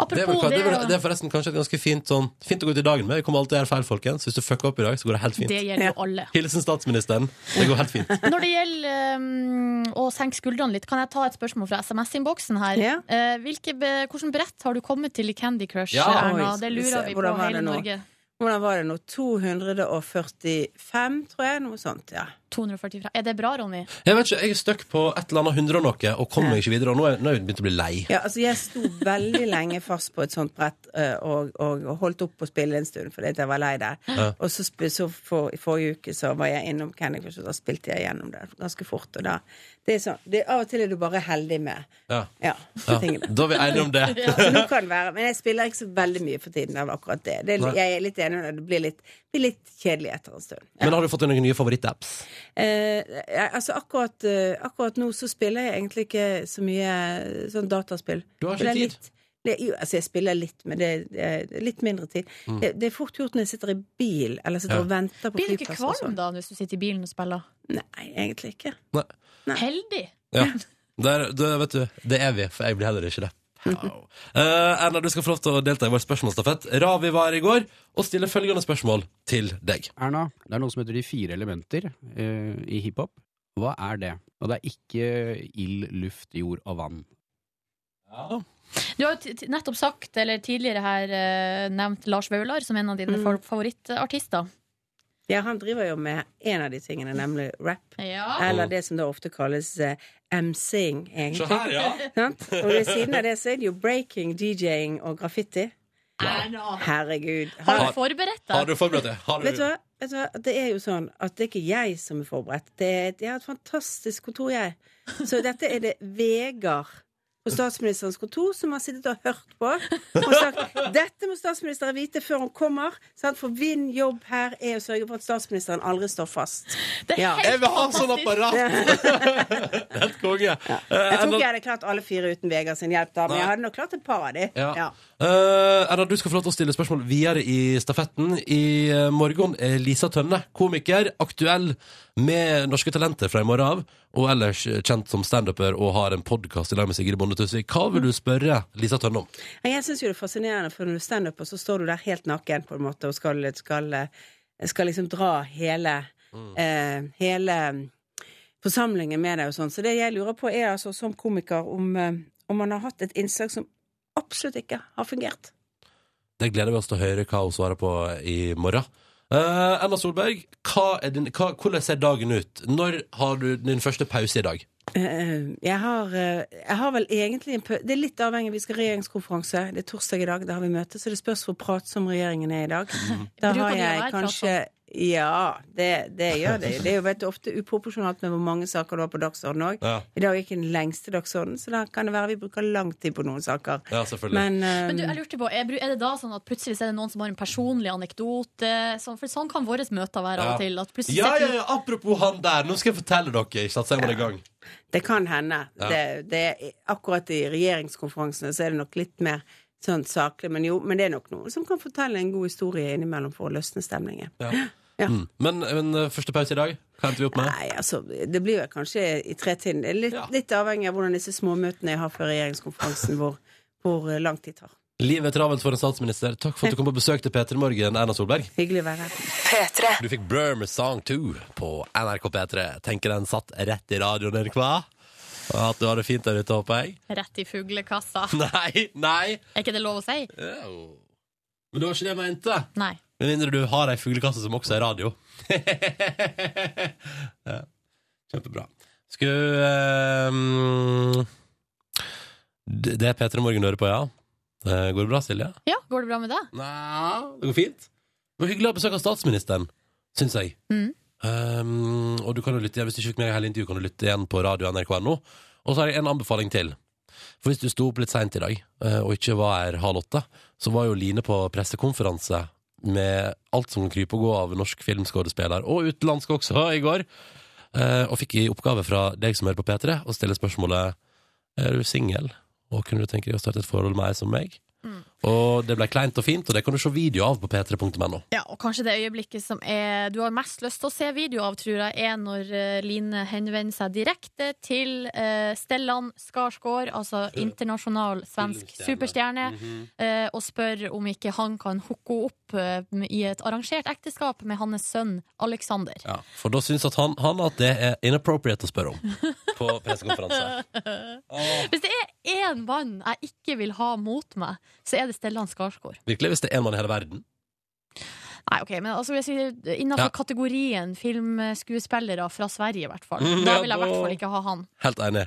Det er, vel, det, er vel, det er forresten kanskje et ganske fint sånn Fint å gå ut i dagen med. Vi kommer alltid til å gjøre feil, folkens. Hvis du fucker opp i dag, så går det helt fint. Det gjelder jo alle. Hilsen statsministeren. Det går helt fint. Når det gjelder um, å senke skuldrene litt, kan jeg ta et spørmål fra SMS-innboksen her. Ja. Eh, hvilke, be- hvordan brett har du kommet til i Candy Crush, Erna? Det Oi, skal vi se. lurer vi på Hvordan var hele det nå? Norge. Hvordan var det nå? 245, tror jeg. Noe sånt, ja. 245. Er det bra, Ronny? Jeg vet ikke, jeg er stuck på et eller annet hundre og noe, og kommer meg ikke videre. Og nå er nå er jeg begynt å bli lei. Ja, altså Jeg sto veldig lenge fast på et sånt brett eh, og, og, og holdt opp å spille en stund fordi at jeg var lei det. Ja. Og så, sp- så for, i forrige uke så var jeg innom Candy Crush, og da spilte jeg gjennom det ganske fort. Og da, det er sånn, det, Av og til er du bare heldig med Ja. ja, Ja, tingene. da er vi enige om det. Ja, så nå kan det være, Men jeg spiller ikke så veldig mye for tiden av akkurat det. det Nei. jeg er litt enig i det. Det blir litt, blir litt kjedelig etter en stund. Men har du fått deg noen nye favorittapps? Eh, jeg- altså akkurat, eh, akkurat nå så spiller jeg egentlig ikke så mye eh, sånn dataspill. Du har ikke For det er tid? Litt, det, jo, altså jeg spiller litt, men det, det er litt mindre tid. Mm. Det, det er fort gjort når jeg sitter i bil eller sitter Ja. og venter på Blir du ikke flyplass og kvalm sånn. da hvis du sitter i bilen og spiller? Nei, egentlig ikke. Nei. Heldig! Ja. Der, det, vet du, det er vi, for jeg blir heller ikke det. Eh, Erna, du skal få lov til å delta i vår spørsmålsstafett. Ravi var her i går og stiller følgende spørsmål til deg. Erna, det er noe som heter de fire elementer eh, i hiphop. Hva er det? Og det er ikke ild, luft, jord og vann. Du har jo t- t- nettopp sagt, eller tidligere her eh, nevnt Lars Vaular som en Mm. av dine fa- favorittartister. Ja, han driver jo med en av de tingene, nemlig rap. Eller det som da ofte kalles eh, MC-ing, egentlig. Se her, ja. Sant? Og ved siden av det så er det jo breaking, DJ-ing og graffiti. Herregud. Har du forberedt deg? Har du forberedt deg? Har Vet du, hva? Vet du hva? Det er jo sånn at det er ikke jeg som er forberedt. Det er, jeg har et fantastisk kontor, jeg. Så dette er det Vegard på statsministerens kontor som har sittet og hørt på og sagt dette må statsministeren vite før hun kommer. Sant? For min jobb her er å sørge for at statsministeren aldri står fast. Ja. Jeg vil ha sånn apparat! Helt konge. Eh, Jeg tror ikke Erna, jeg hadde klart alle fire uten Vegard sin hjelp, da, men Nei. jeg hadde nok klart et par av de. Ja. Ja. Eh, Erna, du skal få lov til å stille spørsmål videre i stafetten. I eh, morgen er Lisa Tønne, komiker, aktuell med Norske Talenter fra i morgen av, og ellers eh, kjent som standuper og har en podkast i lag med Sigrid Bonde Tusvik. Hva vil du spørre Lisa Tønne om? Men jeg syns jo det er fascinerende, for når du er standuper, så står du der helt naken på en måte og skal, skal, skal liksom dra hele eh, Hele forsamlingen med deg og sånn. Så det jeg lurer på, er altså som komiker om, eh, om man har hatt et innslag som absolutt ikke har fungert. Det gleder vi oss til å høre hva hun svarer på i morgen. Eh, Erna Solberg, hva er din, hva, hvordan ser dagen ut? Når har du din første pause i dag? Eh, Jeg har, eh, jeg har vel egentlig en pø- Det er litt avhengig. Vi skal ha regjeringskonferanse. Det er torsdag i dag, da har vi møte. Så det spørs hvor pratsom regjeringen er i dag. Mhm. Da Bruker har de å være jeg kanskje Ja, det, det gjør det. Det er jo vet du, ofte uproporsjonalt med hvor mange saker du har på dagsordenen òg. Ja. I dag er ikke den lengste dagsordenen, så da kan det være vi bruker lang tid på noen saker. Ja, selvfølgelig. Men, eh, Men du, jeg lurte på, er bru- er det da sånn at plutselig så er det noen som har en personlig anekdote? Sånn, for sånn kan våre møter være av og til. At plutselig ja, ja, sitter- ja, apropos han der, nå skal jeg fortelle dere. Ikke sant? Så jeg må i gang. Det kan hende. Ja. Det, det, akkurat i regjeringskonferansene så er det nok litt mer sånn saklig, men jo, men det er nok noen som kan fortelle en god historie innimellom for å løsne stemningen. Mm. Men, men eh, første pause i dag, hva endte vi opp med? Nei, altså, det blir vel kanskje i tretiden. Det er litt, litt avhengig av hvordan disse småmøtene jeg har før regjeringskonferansen, hvor, hvor lang tid tar. Livet er travelt for en statsminister. Takk for at du kom på besøk til P3 Morgen, Erna Solberg. Hyggelig å være her. Du fikk Burma Song 2 på NRK P3. Tenker den satt rett i radioen din, hva? At du har det fint der ute, håper jeg. Rett i fuglekassa. Nei, nei. Er ikke det lov å si? Jo. Men det var ikke det jeg mente. Nei. Med mindre du har ei fuglekasse som også er radio. ja. Kjempebra. Skal eh, mm, Det det er P3 Morgen du hører på, ja? Eh, Går det bra, Silje? Ja, går det bra med deg? Det går fint. Det var hyggelig å ha besøk av statsministeren, syns jeg. Mm. Um, og du kan jo lytte igjen, Hvis du ikke fikk med deg hele intervjuet, kan du lytte igjen på radio nrk.no. Og så har jeg en anbefaling til. For hvis du sto opp litt seint i dag, eh, og ikke var her halv åtte, så var jo Line på pressekonferanse med alt som kan krype og gå av norsk filmskuespiller, og utenlandsk også, i går. Eh, og fikk i oppgave fra deg som hører på P3, å stille spørsmålet Er du singel, og kunne du tenke deg å starte et forhold med ei som meg? Og det ble kleint og fint, og det kan du se video av på p3.no. Ja, og kanskje det øyeblikket som er, du har mest lyst til å se video av, tror jeg, er når eh, Line henvender seg direkte til eh, Stellan Skarsgård, altså internasjonal svensk superstjerne, Mm. eh, og spør om ikke han kan hooke opp eh, i et arrangert ekteskap med hans sønn Alexander. For da syns at han, han at det er inappropriate å spørre om på pressekonferanse. Hvis det er én mann jeg ikke vil ha mot meg, så er det Stellan Skarsgård. Virkelig, hvis det er en mann i hele verden. Nei, ok, men altså, hvis vi- innenfor Ja. kategorien filmskuespillere fra Sverige, i hvert fall. Mm, Da ja, vil jeg i da- hvert fall ikke ha han. Helt enig.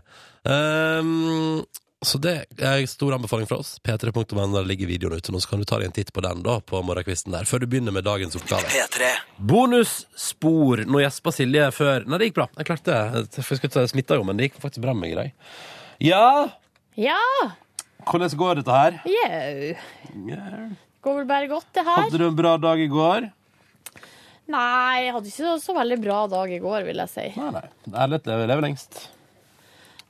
Ehm, så det er en stor anbefaling fra oss. p3.no, der ligger videoen ute nå, så kan du ta deg en titt på den da, på morgenkvisten der, før du begynner med dagens oppgave. Bonusspor. Nå gjespa Silje før Nei, det gikk bra. Jeg klarte det. For jeg skulle ta- smitta jo, men det gikk faktisk bra med meg i dag. Ja, Ja! hvordan går dette her? Jau. Går vel bare godt, det her. Hadde du en bra dag i går? Nei, jeg hadde ikke så, så veldig bra dag i går, vil jeg si. Nei, nei. Ærlighet lever, lever lengst.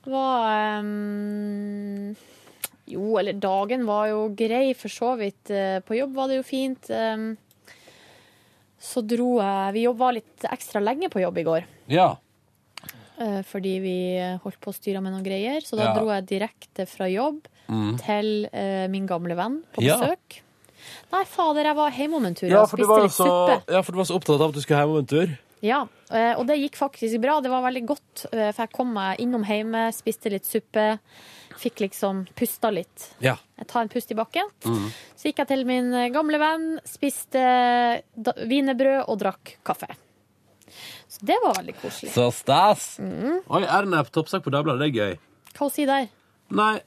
Det var ehm, Jo, eller dagen var jo grei, for så vidt. Eh, På jobb var det jo fint. ehm. så dro jeg Vi jobba litt ekstra lenge på jobb i går. Ja. eh, Fordi vi holdt på å styre med noen greier. Så da Ja. dro jeg direkte fra jobb Mm. til eh, min gamle venn på Ja. besøk. Nei, fader, jeg var hjemme om en tur Ja og for, du spiste var jo litt suppe. så, ja, for du var så opptatt av at du skulle hjem om en tur. Ja, eh, og det gikk faktisk bra. Det var veldig godt, eh, for jeg kom meg innom hjemme, spiste litt suppe, fikk liksom pusta litt. Ja. Jeg tar en pust i bakken. Mm. Så gikk jeg til min eh, gamle venn, spiste da- wienerbrød og drakk kaffe. Så det var veldig koselig. Så stas! Mm. Oi, Ernep, toppsak på Dagbladet. Det er gøy. Hva hun sier der? Nei,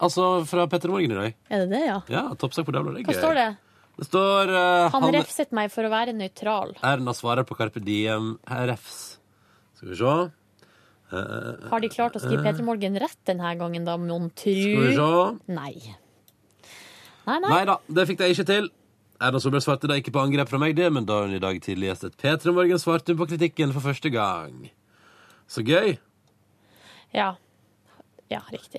altså fra Petter Morgen i dag. Er det det, ja? Ja, toppsak på Dagbladet. Det er Hva gøy. står det? Det står eh, Han Hanne- refset meg for å være nøytral. Erna svarer på Carpe Diem refs. Skal vi se Eh, eh, Har de klart å skrive Peter Morgen rett denne gangen, da, mon tru? Skal vi se. Nei. Mm. Nei, nei. Nei da, det fikk de ikke til. Erna Solberg svarte da ikke på angrep fra meg, det, men da hun i dag tidlig gjestet P3 Morgen, svarte hun på kritikken for første gang. Så gøy. Ja. ja, riktig.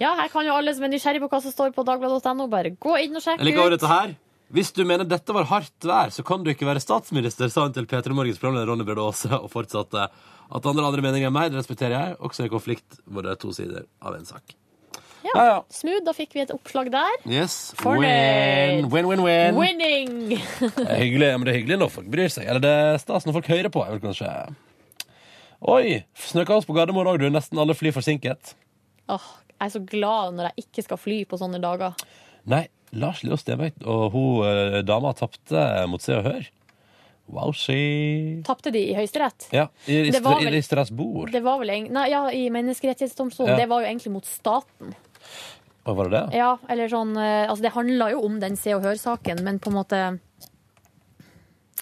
Ja, her kan jo alle som er nysgjerrig på hva som står på dagbladet.no, bare gå inn og sjekke Jeg liker også ut. dette her. Hvis du mener dette var hardt vær, så kan du ikke være statsminister, sa hun til P3 Morgens programleder Ronny Brede Aase, og fortsatte at andre andre meninger enn meg, det respekterer jeg, også i konflikt hvor det er to sider av en sak. Ja, Smooth, da fikk vi et oppslag der. Yes. Fornøyd. Win, win, win, win. Winning! Det er hyggelig, men det er hyggelig når folk bryr seg. Eller det er stas når folk hører på, er vel kanskje. Oi, snøkaos på Gardermoen òg, du. Nesten alle fly forsinket. Åh, jeg er så glad når jeg ikke skal fly på sånne dager. Nei, Lars Leo Stenbøk og hun eh, dama tapte mot Se og Hør. Wow, she Tapte de i Høyesterett? Ja, i, i, Det var vel- i Strasbourg. Det var vel en... Nei, ja, i Menneskerettighetsdomstolen. Ja. Det var jo egentlig mot staten. Å, var det det? Ja, eller sånn eh, Altså, det handla jo om den Se og Hør-saken, men på en måte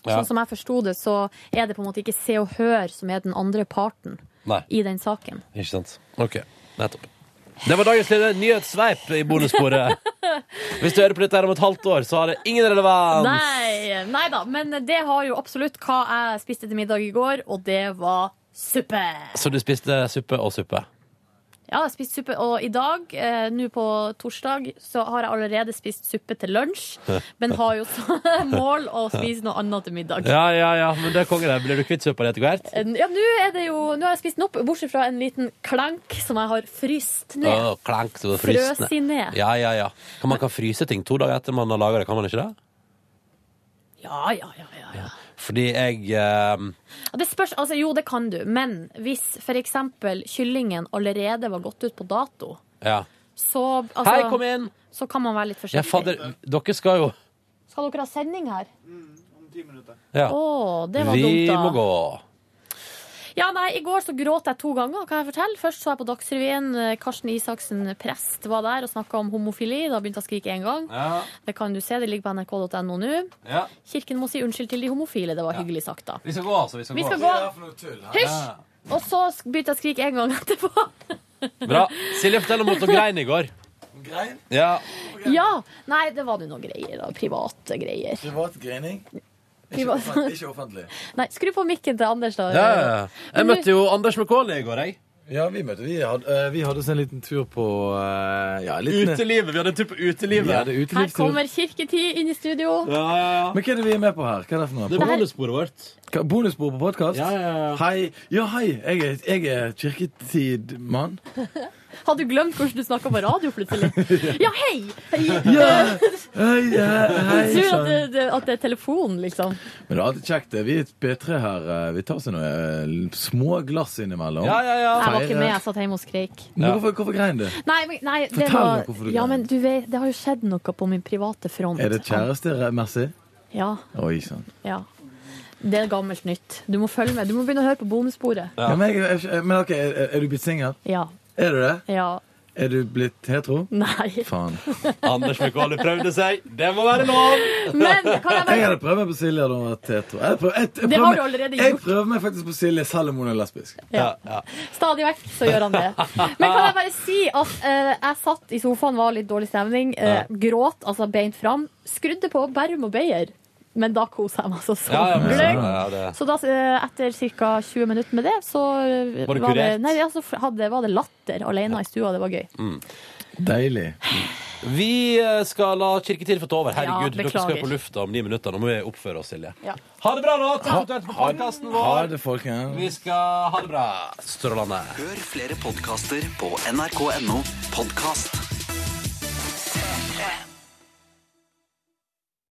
Ja. Sånn som jeg forsto det, så er det på en måte ikke Se og Hør som er den andre parten Nei, i den saken. ikke sant. OK, nettopp. Det var dagens lille nyhetssveip i bonussporet. Hvis du hører på dette her om et halvt år, så har det ingen relevans. Nei, nei da, men det har jo absolutt hva jeg spiste til middag i går, og det var suppe. Så du spiste suppe og suppe. Ja, jeg spiste suppe, og i dag, eh, nå på torsdag, så har jeg allerede spist suppe til lunsj, men har jo som mål å spise noe annet til middag. Ja, ja, ja, men det er konge, det. Blir du kvitt suppa di etter hvert? Eh, Ja, nå er det jo, nå har jeg spist den opp, bortsett fra en liten klank som jeg har fryst ned. Å, klank, så det frysende. Frøs i ned. Ah, Ja, ja, ja. Kan man kan fryse ting to dager etter man har laga det, kan man ikke det? Ja, ja, ja. Fordi jeg eh, Ja, Det spørs, altså jo, det kan du, men hvis for eksempel kyllingen allerede var gått ut på dato, Ja. så, altså- Hei, kom inn! så kan man være litt forsiktig. ja fader, dere skal jo Skal dere ha sending her? Mm, ja. Å, det var Vi dumt, da. må gå. Ja, nei, I går så gråt jeg to ganger, kan jeg fortelle. Først så jeg på Dagsrevyen. eh, Karsten Isaksen, prest, var der og snakka om homofili. Da begynte jeg å skrike én gang. Ja. Det kan du se, det ligger på nrk.no nå. Ja. Kirken må si unnskyld til de homofile. Det var hyggelig sagt, da. Vi skal gå, altså. Vi skal Vi gå. skal Hva er det gå. Hysj! Og så sk- begynte jeg å skrike én gang etterpå. Bra. Silje, fortell om at hun grein i går. Grein? Ja. Ja! Nei, det var nå noe greier. Da. Private greier. Privat grining? Ikke, Privat- offent- ikke offentlig. Nei, skru på mikken til Anders, da. Ja, ja, ja. Men Jeg du- møtte jo Anders McCauley i går, jeg. Ja, vi møtte vi hadde, eh, vi hadde oss en liten tur på eh, ja, en liten, Utelivet. Vi hadde en tur på Vi utelivet. hadde Her utelivstur. kommer Kirketid inn i studio. Men hva er det vi er med på her? Hva er det for noe? Det er bonussporet vårt. Bonusbord på podkast? Hei. Ja, hei. Jeg er, jeg er kirketidmann. Hadde du glemt hvordan du snakka på radio plutselig? Ja, hei! eh, Ja, hei, hei, hei, Du tror at sann. det, det, at det er telefon, liksom. Men det er alltid kjekt. det. Vi er et P3 her. eh, Vi tar oss noen eh, små glass innimellom. Jeg var ikke med, Feirer. jeg satt hjemme og skreik. Men Hvorfor, hvorfor grein du? Nei, men, nei det Fortell var meg hvorfor du Ja, greier. men du vet, det har jo skjedd noe på min private front. Er det kjærestemessig? Ja, Oi sånn. sann. ja. Det er gammelt nytt. Du må følge med. Du må begynne å høre på bonussporet. Ja. men, jeg, jeg, men ok, er, er du blitt singel? Ja. Er du det? Ja. Er du blitt hetero? Nei. Faen. Anders Mikaeli prøvde seg. Det må være lov! Men jeg kan jeg bare hadde prøvd meg på Silje da hun var hetero. Jeg prøv, jeg, jeg, Det prøver har meg- du allerede Jeg gjort. prøver meg faktisk på Silje selv om hun er lesbisk. Ja. Stadig vekk så gjør han det. Men kan jeg bare si at eh, jeg satt i sofaen, var litt dårlig stemning, eh, gråt, altså beint fram, skrudde på Bærum og Beyer. Men da kosa jeg meg altså så Ja, ja, men så- gløgg. ja, det- Så da, eh, etter ca. 20 minutter med det, så eh, Var det var, det, kurert? nei, altså, hadde, var det latter alene i stua. Det var gøy. Deilig. Vi eh, skal la Kirketil få ta over. Ja, Herregud, dere beklager. skal jo på lufta om ni minutter. Nå må vi oppføre oss, Silje. Ja. Ha det bra nå! Takk for at du hørte på podkasten Ha vår. det, folkens. Vi skal ha det bra. Strålende. Hør flere podkaster på nrk.no podkast.